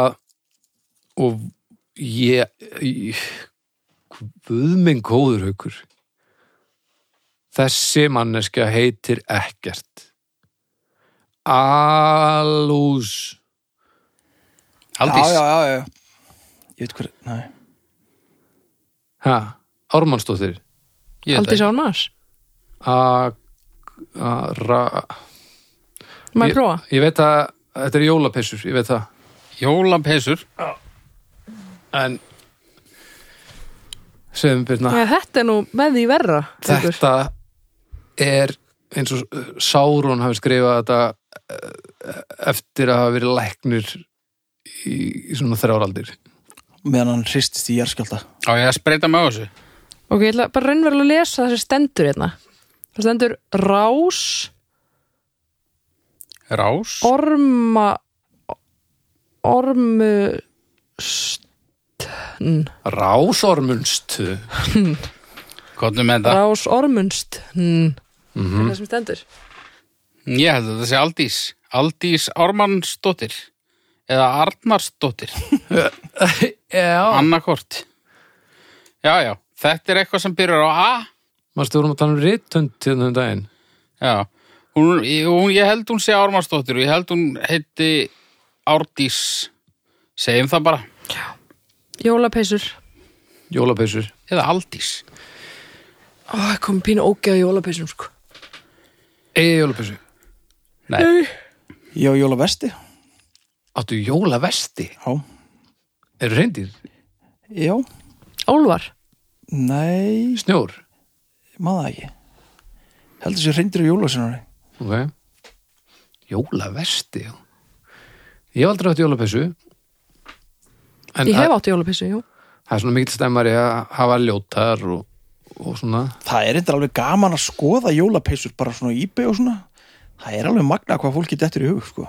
og ég, ég guðminn góður haukur þessi manneskja heitir ekkert Alús
Aldís,
Já, já, já, já Ég veit hver, næ
ha, Ármannsdóttir
Ég veit
Aldrei
það
sá hann maður,
A, a, ra,
maður
ég,
prófa
ég veit að þetta er jólapessur, ég veit það
ekki. Jólapesur
en sem
Ah.
byrna
Nei, Þetta er nú með því verra Haukur.
þetta er eins og Sáron hafi skrifað þetta eh, eftir að hafa verið læknir í, í svona þrjáraldir
Meðan hann hristist í jarðskjálta
Á ég að spreita mig á þessu
Ok, ég ætla bara raunverulega að lesa þessi stendur hérna Það stendur rás
Rás
orma ormustn
Rásormunstu
Kottum með það
rás ormunstn Það er það sem stendur
Ég held að þetta sé Aldís Aldís Ármannsdóttir eða Arnarsdóttir
Já
annarkort Já, já, þetta er eitthvað sem byrjar á A
Manstu vorum að tala um rittönd til þennan daginn
Já, hún, ég- hún, ég held hún sé Ármannsdóttir og ég held hún heiti Árdís segjum það bara,
Jólapeysur
Jólapeysur
eða Aldís
Ó, það kom pínu ógeð á jólapeysum sko
Egi jólapeysu
Nei,
Ég á jóla vesti Já,
Áttu jólavesti Eru reyndir?
já,
Álvar
nei,
Snjór?
maður það ekki Heldur sér hreindir á jólasinari
Ok Jólavesti já. Ég hef aldrei átt jólapeysu En
Ég
það-
hef átt jólapeysu, jú
það er svona mikill stemmari að hafa ljótar og, og svona
Það er eitthvað alveg gaman að skoða jólapeysur bara svona í eBay og svona Það er alveg magna hvað fólki dettur í hug sko.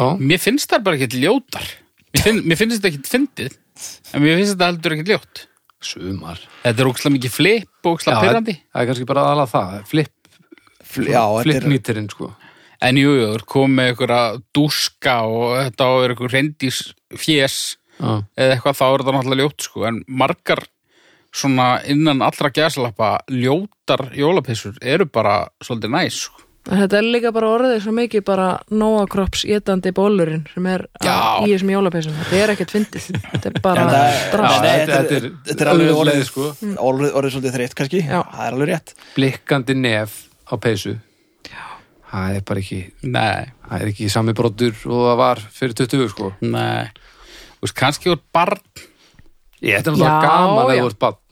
Ó,
mér finnst það bara ekkert ljótar Mér, finn, mér finnst þetta ekkert fyndið en mér finnst þetta heldur ekkert ljótt
sumar
Þetta er ókslega mikið flip og ókslega
það
pyrrandi
það er kannski bara aðalega það flip,
Fl Já, þetta er,
flipnýtirinn sko
En jú, jú, þú er komið með ykkur að dúska og þetta á að vera ykkur reyndís fjés
Já.
eða eitthvað þá er þetta náttúrulega ljótt sko en margar svona innan allra gæslappa ljótar jólapissur eru bara svolítið næs sko.
En þetta er líka bara orðið svo mikið bara nóakrops étandi bólurinn sem er
Já.
að, í þessum jólapeysum Þetta er ekkert fyndið Þetta er bara
en það-
Já,
drast
Nei,
þetta,
þetta
þetta
er-
er,
þetta er alveg
auðveld leið,
orðið- Mm.
sko.
orðið, orðið svolítið þreytt kannski
Já.
Það er alveg rétt
blikkandi nef á peysu það er bara ekki
Nei,
það er ekki sami brotur og það var fyrir 20 sko
nei Þú veist, kannski úr barn
ég, þetta er náttúrulega
Já,
gaman að
já.
þú ert bann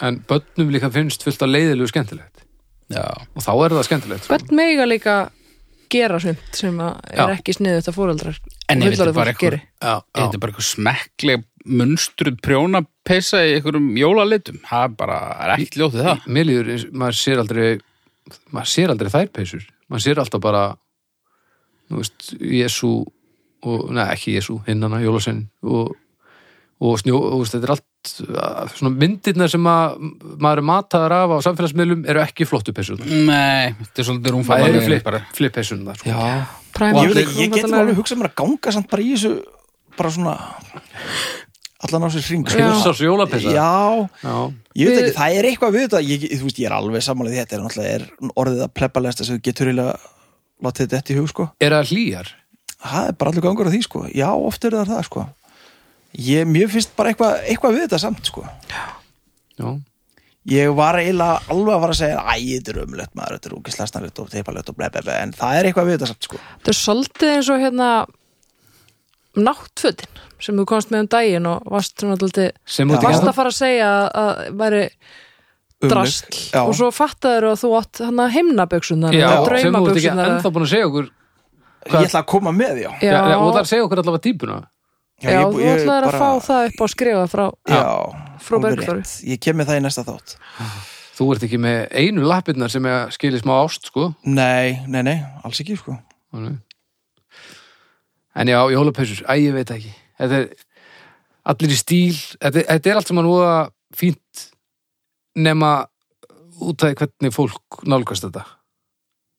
en bönnum líka finnst fullt af leiðilegu skemmtilegt
já,
og þá er það skemmtilegt sko.
Bönn mega líka gera sumt sem að er
Já.
ekki sniðu þetta fóreldrar
en ef þetta er bara eitthvað
gerir
já,
ef þetta er bara eitthvað smekkleg munstruð prjónapeysa í einhverjum jólalitum það er bara, það er ekki ljótið það
mér líður, eins- maður sér aldrei maður sér aldrei þær peysur maður sér alltaf bara þú veist, Jésu og, neða ekki Jésu, hinnana, Jólasvein og, og snjó, og, þú veist, þetta er allt að- svona myndirnar sem að maður er mataðar af á samfélagsmiðlum eru ekki flottu peysur
nei, þetta Mm. er svolítið
það eru
rúmfæðan
flip, flip peysun það sko.
já,
Primal
Ég, veit
Room,
ekki, ég getur
þetta
alveg hugsað mér að ganga samt bara í þessu bara svona allan á sér hring sko.
Kristjáns jólapeysa
Já,
Já.
ég veit
Við-
ekki, það er eitthvað við þetta ég, þú veist, ég er alveg sammála því þetta er náttúrulega er orðið að plebbalegasta sem þú getur eiginlega látið þetta í hug sko
er það hlýjar
það er bara allir gangur á því sko já, oft eru það það sko ég, mér finnst bara eitthvað, eitthvað við þetta samt sko
já.
ég var eiginlega alveg að fara að segja æ, þetta er umlegt maður, þetta er úkislega snarlegt og teipalegt og blei, blei, blei, en það er eitthvað við þetta samt sko
Þetta er svolítið eins og hérna náttfötin sem þú komst með um daginn og varst svona alltaf
sem
Já.
út
varst
ekki
að fara að segja að- að væri
Umlegt,
drast
já.
og svo fattaður að þú átt hana himnaböksunar
Já, sem þú ert ekki
draumaböksunar
ennþá búin að segja okkur
ég ætla að koma með, já
já. Já, og það er að segja okkur allavega típuna
já,
ég-
þú
ég
ætlaður að
bara-
fá það upp á að skrifa frá
já,
frá
alveg
Bergþóru.
rétt. ég kem með það í næsta þátt
þú ert ekki með einu lappirnar sem er að skilja smá ást sko
nei, nei, nei, alls ekki sko
Þannig. En já, jólapeysur, æ, ég veit ekki. Þetta er allir í stíl, þetta, þetta er allt sem að núða fínt nema út af því hvernig fólk nálgast þetta.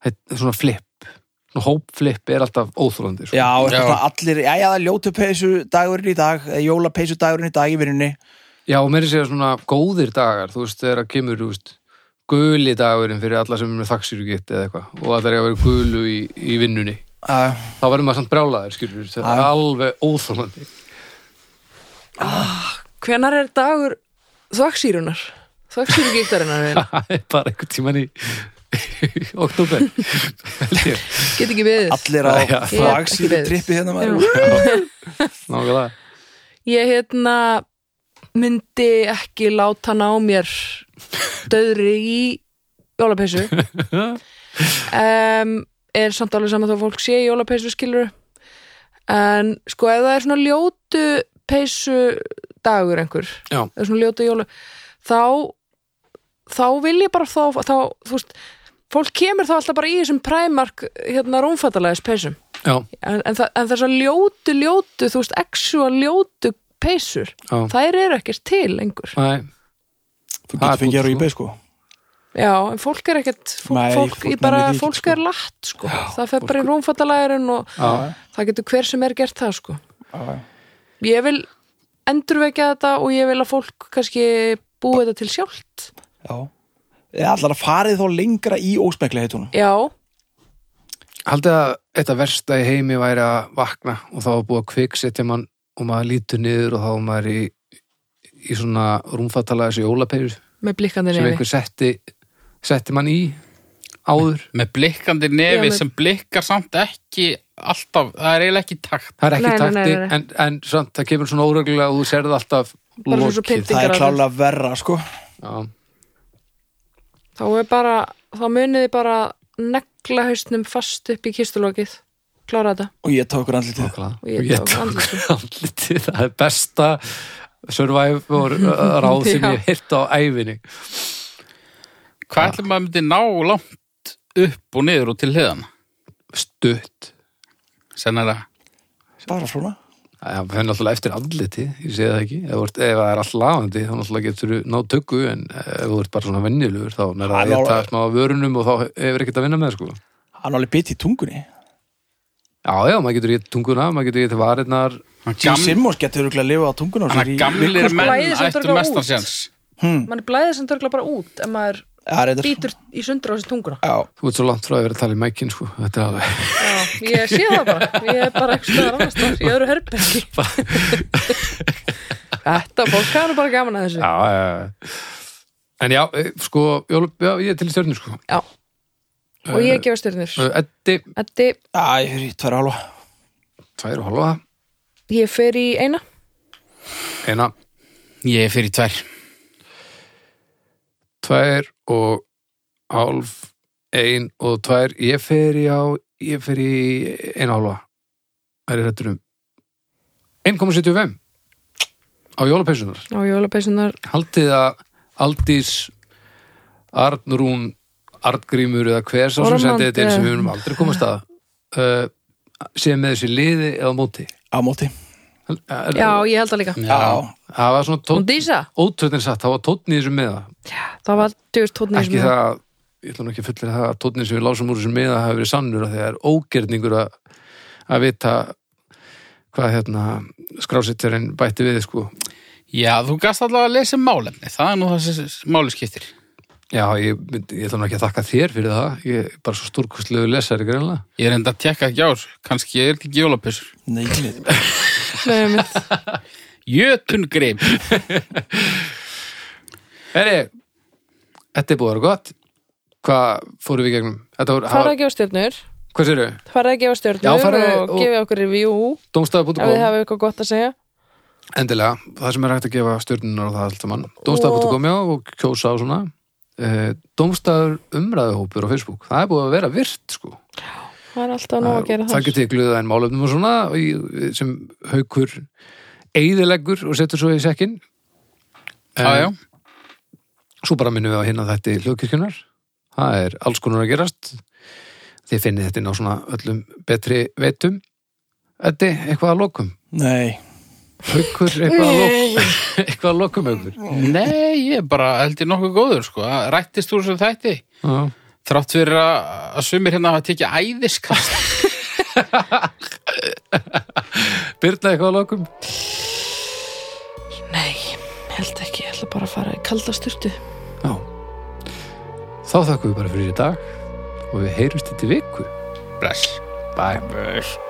Þetta er svona flip, svona hópflip er alltaf óþólandi. Sko.
já, er
Já.
það allir, já, já, það er ljótu peysu dagurinn í dag, jólapeysu dagurinn í dag í vinnunni
já, og meiri segja svona góðir dagar, þú veist, þegar að kemur, þú veist, guli dagurinn fyrir alla sem er með þaksir eða eitthvað og að það er að vera gulu í, í vinnunni.
uh,
Þá verður maður samt brjálaður, skilur, þetta er
Já.
alveg óþólandi.
hvenar er dagur þvaksýrunar þvaksýrugíktarinnar
Það er bara einhvern tíman í oktober held ég,
get ekki við
allir á
Já, já.
flagsýðu
Ég-
trippi hérna maður
nákvæmlega
ég hérna myndi ekki láta ná mér döðri í jólapeysu um, er samt alveg saman þó að fólk sé í jólapeysu skilur en sko ef það er svona ljótu peysu dagur einhver
Já.
eða svona ljótu jóla þá, þá vil ég bara þá, þá þú veist fólk kemur þá alltaf bara í þessum præmark hérna rúmfattalæðis peysum
já,
en, en, þa en þessar ljótu, ljótu þú veist, actual ljótu peysur,
já,
þær eru ekkert til lengur.
næ
þú
Það er
getur fengið
gott,
að
sko.
rýpa sko
Já, en fólk er ekkert fólk,
Nei,
fólk,
fólk
fólk, bara,
nennir því ekki,
fólk
sko.
er latt sko. það fer bara í rúmfattalæðurinn og
Já.
það getur hver sem er gert það sko.
Já.
ég vil endurvekja þetta og ég vil að fólk kannski búi þetta til sjálft
já, eða allar að farið þá lengra í óspeklega heitunum
já,
haldið að þetta versta í heimi væri að vakna og þá var búið að kviksetja mann og maður lítur niður og þá var maður í í svona rúmfattalega þessi jólapeyrur
með blikkandi
sem
nefni
einhver setti setti mann í áður
með blikkandi nefi
Já, með-
sem blikkar samt ekki alltaf, það er eiginlega ekki í takt
það er ekki
Nei, nei,
takti
nei, nei.
En, en samt það kemur svona óreglulega og þú serði alltaf
Bara svona svo
lokið.
pynti-
það er
Þingar
klálega verra sko
Já.
þá er bara, þá muniði bara negla hausnum fast upp í kistulokið klára þetta
og ég tók okkur andlitið
Og
nákvæmlega
ég
og ég
tók
tók andliti það er besta survivor uh, ráð sem ég hef hirt á æfinni
hvað ætlum maður myndi ná langt upp og niður og til hliðan
stutt
sennilega,
bara svona
það fenni náttúrulega eftir andliti ég segi það ekki, ef, þú ert, ef það er allt lagandi þá náttúrulega getur þú náð tökku en eh, ef þú ert bara svona vennilugur þá er það
Hann á-
að geta smá af vörunum og þá hefur ekkert að vinna með sko.
hann alveg bytt í tungunni
já, já, maður getur geta tunguna, maður getur geta varirnar
Jim
Gam,
Simmons getur okkur að lifa á tungunni á sér
hann
í
gamlir
viku, sko.
menn
Blæðir sem
ættu
dröga
mestan
út.
séns
mann er blæðið sem dörgla bara út ef maður
Já, reyndar. sko.
býtur í sundur á þessi tunguna
Já,
þú ert svo langt frá að vera að tala í mækin sko. þetta er alveg
Já, ég sé það bara, ég er bara ekki stöðar annars þar, ég eru herbergi Þetta fólk hann er bara gaman að þessu
já, já, já. en já, eh, sko já, já, ég er til í stjörnir sko.
Já, og ég gefa styrnir
Eh, Eddi,
Þetta,
já, ég fyrir í tverja hálfa
tvær og halva
ég fer í eina
eina,
ég er fyrir tvær
tvær og hálf, ein og tvær ég fer í á, ég fer í ein hálfa er ég réttur um 1,75 á jólapeysunar
á jólapeysunar
haldið að Aldís Arnrún Arngrímur eða hver sá sem
Ormand,
sendið þetta inn sem
eh.
við munum aldrei komast að uh, sem með þessi liði eða móti
á móti
Er-
já, ég held það líka
Já,
það var svona
og
tótt
Dísa,
ótröðin satt, það var tóttn í þessum meða
það var djúst tónni
ekki það, ég ætla nú ekki að fullir það að tóttin sem við lásum úr þessum miða hafi verið sannur af því að það er ógerningur að, að vita hvað hérna skrásetjarinn bætti við sko.
Já, þú gast allavega að lesa um málefni. Það er nú það sem máli skiptir.
Já, ég, myndi- ég ætla nú ekki að þakka þér fyrir það ég er bara svo stúrkustlegu lesari greinlega
Ég er enda að tekka ekki á þessu. Kannski er þetta ekki jólapissur.
nei, nei.
það
Jötun greip.
Heri, þetta er búið að vera gott Hvað fórum við í gegnum? Þetta voru,
farið
hafa,
að gefa stjörnur
hvað sérðu?
farið að gefa
Já,
stjörnur
farið
og,
og-
gefið okkur review ef þið
Dómstaf.com
hafið eitthvað gott að segja
Endilega, það sem er hægt að gefa stjörnunar og það allt saman Dómstaf.com já og kjósa á svona eh, Dómstafur umræðuhópur á Facebook Það er búið að vera virt sko
það er alltaf nóg að gera
það
þar
getur gluða en málefnum og svona og í- sem haukur eigðileggur og setur svo í sekkin
Já, já.
svo bara minnum við á hérna þetta hljóðkirkjunar það er alls konar að gerast þið finnið þetta inn á svona öllum betri veitum Þetta er eitthvað að lokum
nei.
haukur eitthvað að lokum eitthvað að lokum haukur
Nei, ég er bara held ég nokkuð góður, sko. Það Rættist úr sem þætti.
Já.
Þrátt fyrir að, að sumir hérna hafa tekið æðiskast.
Birna eitthvað að lokum
nei, ég held ekki, ég ætla bara að fara í kalda styrtu
Já. þá þakkum við bara fyrir í dag og við heyrumst þetta viku
Bless.
bye
Bless.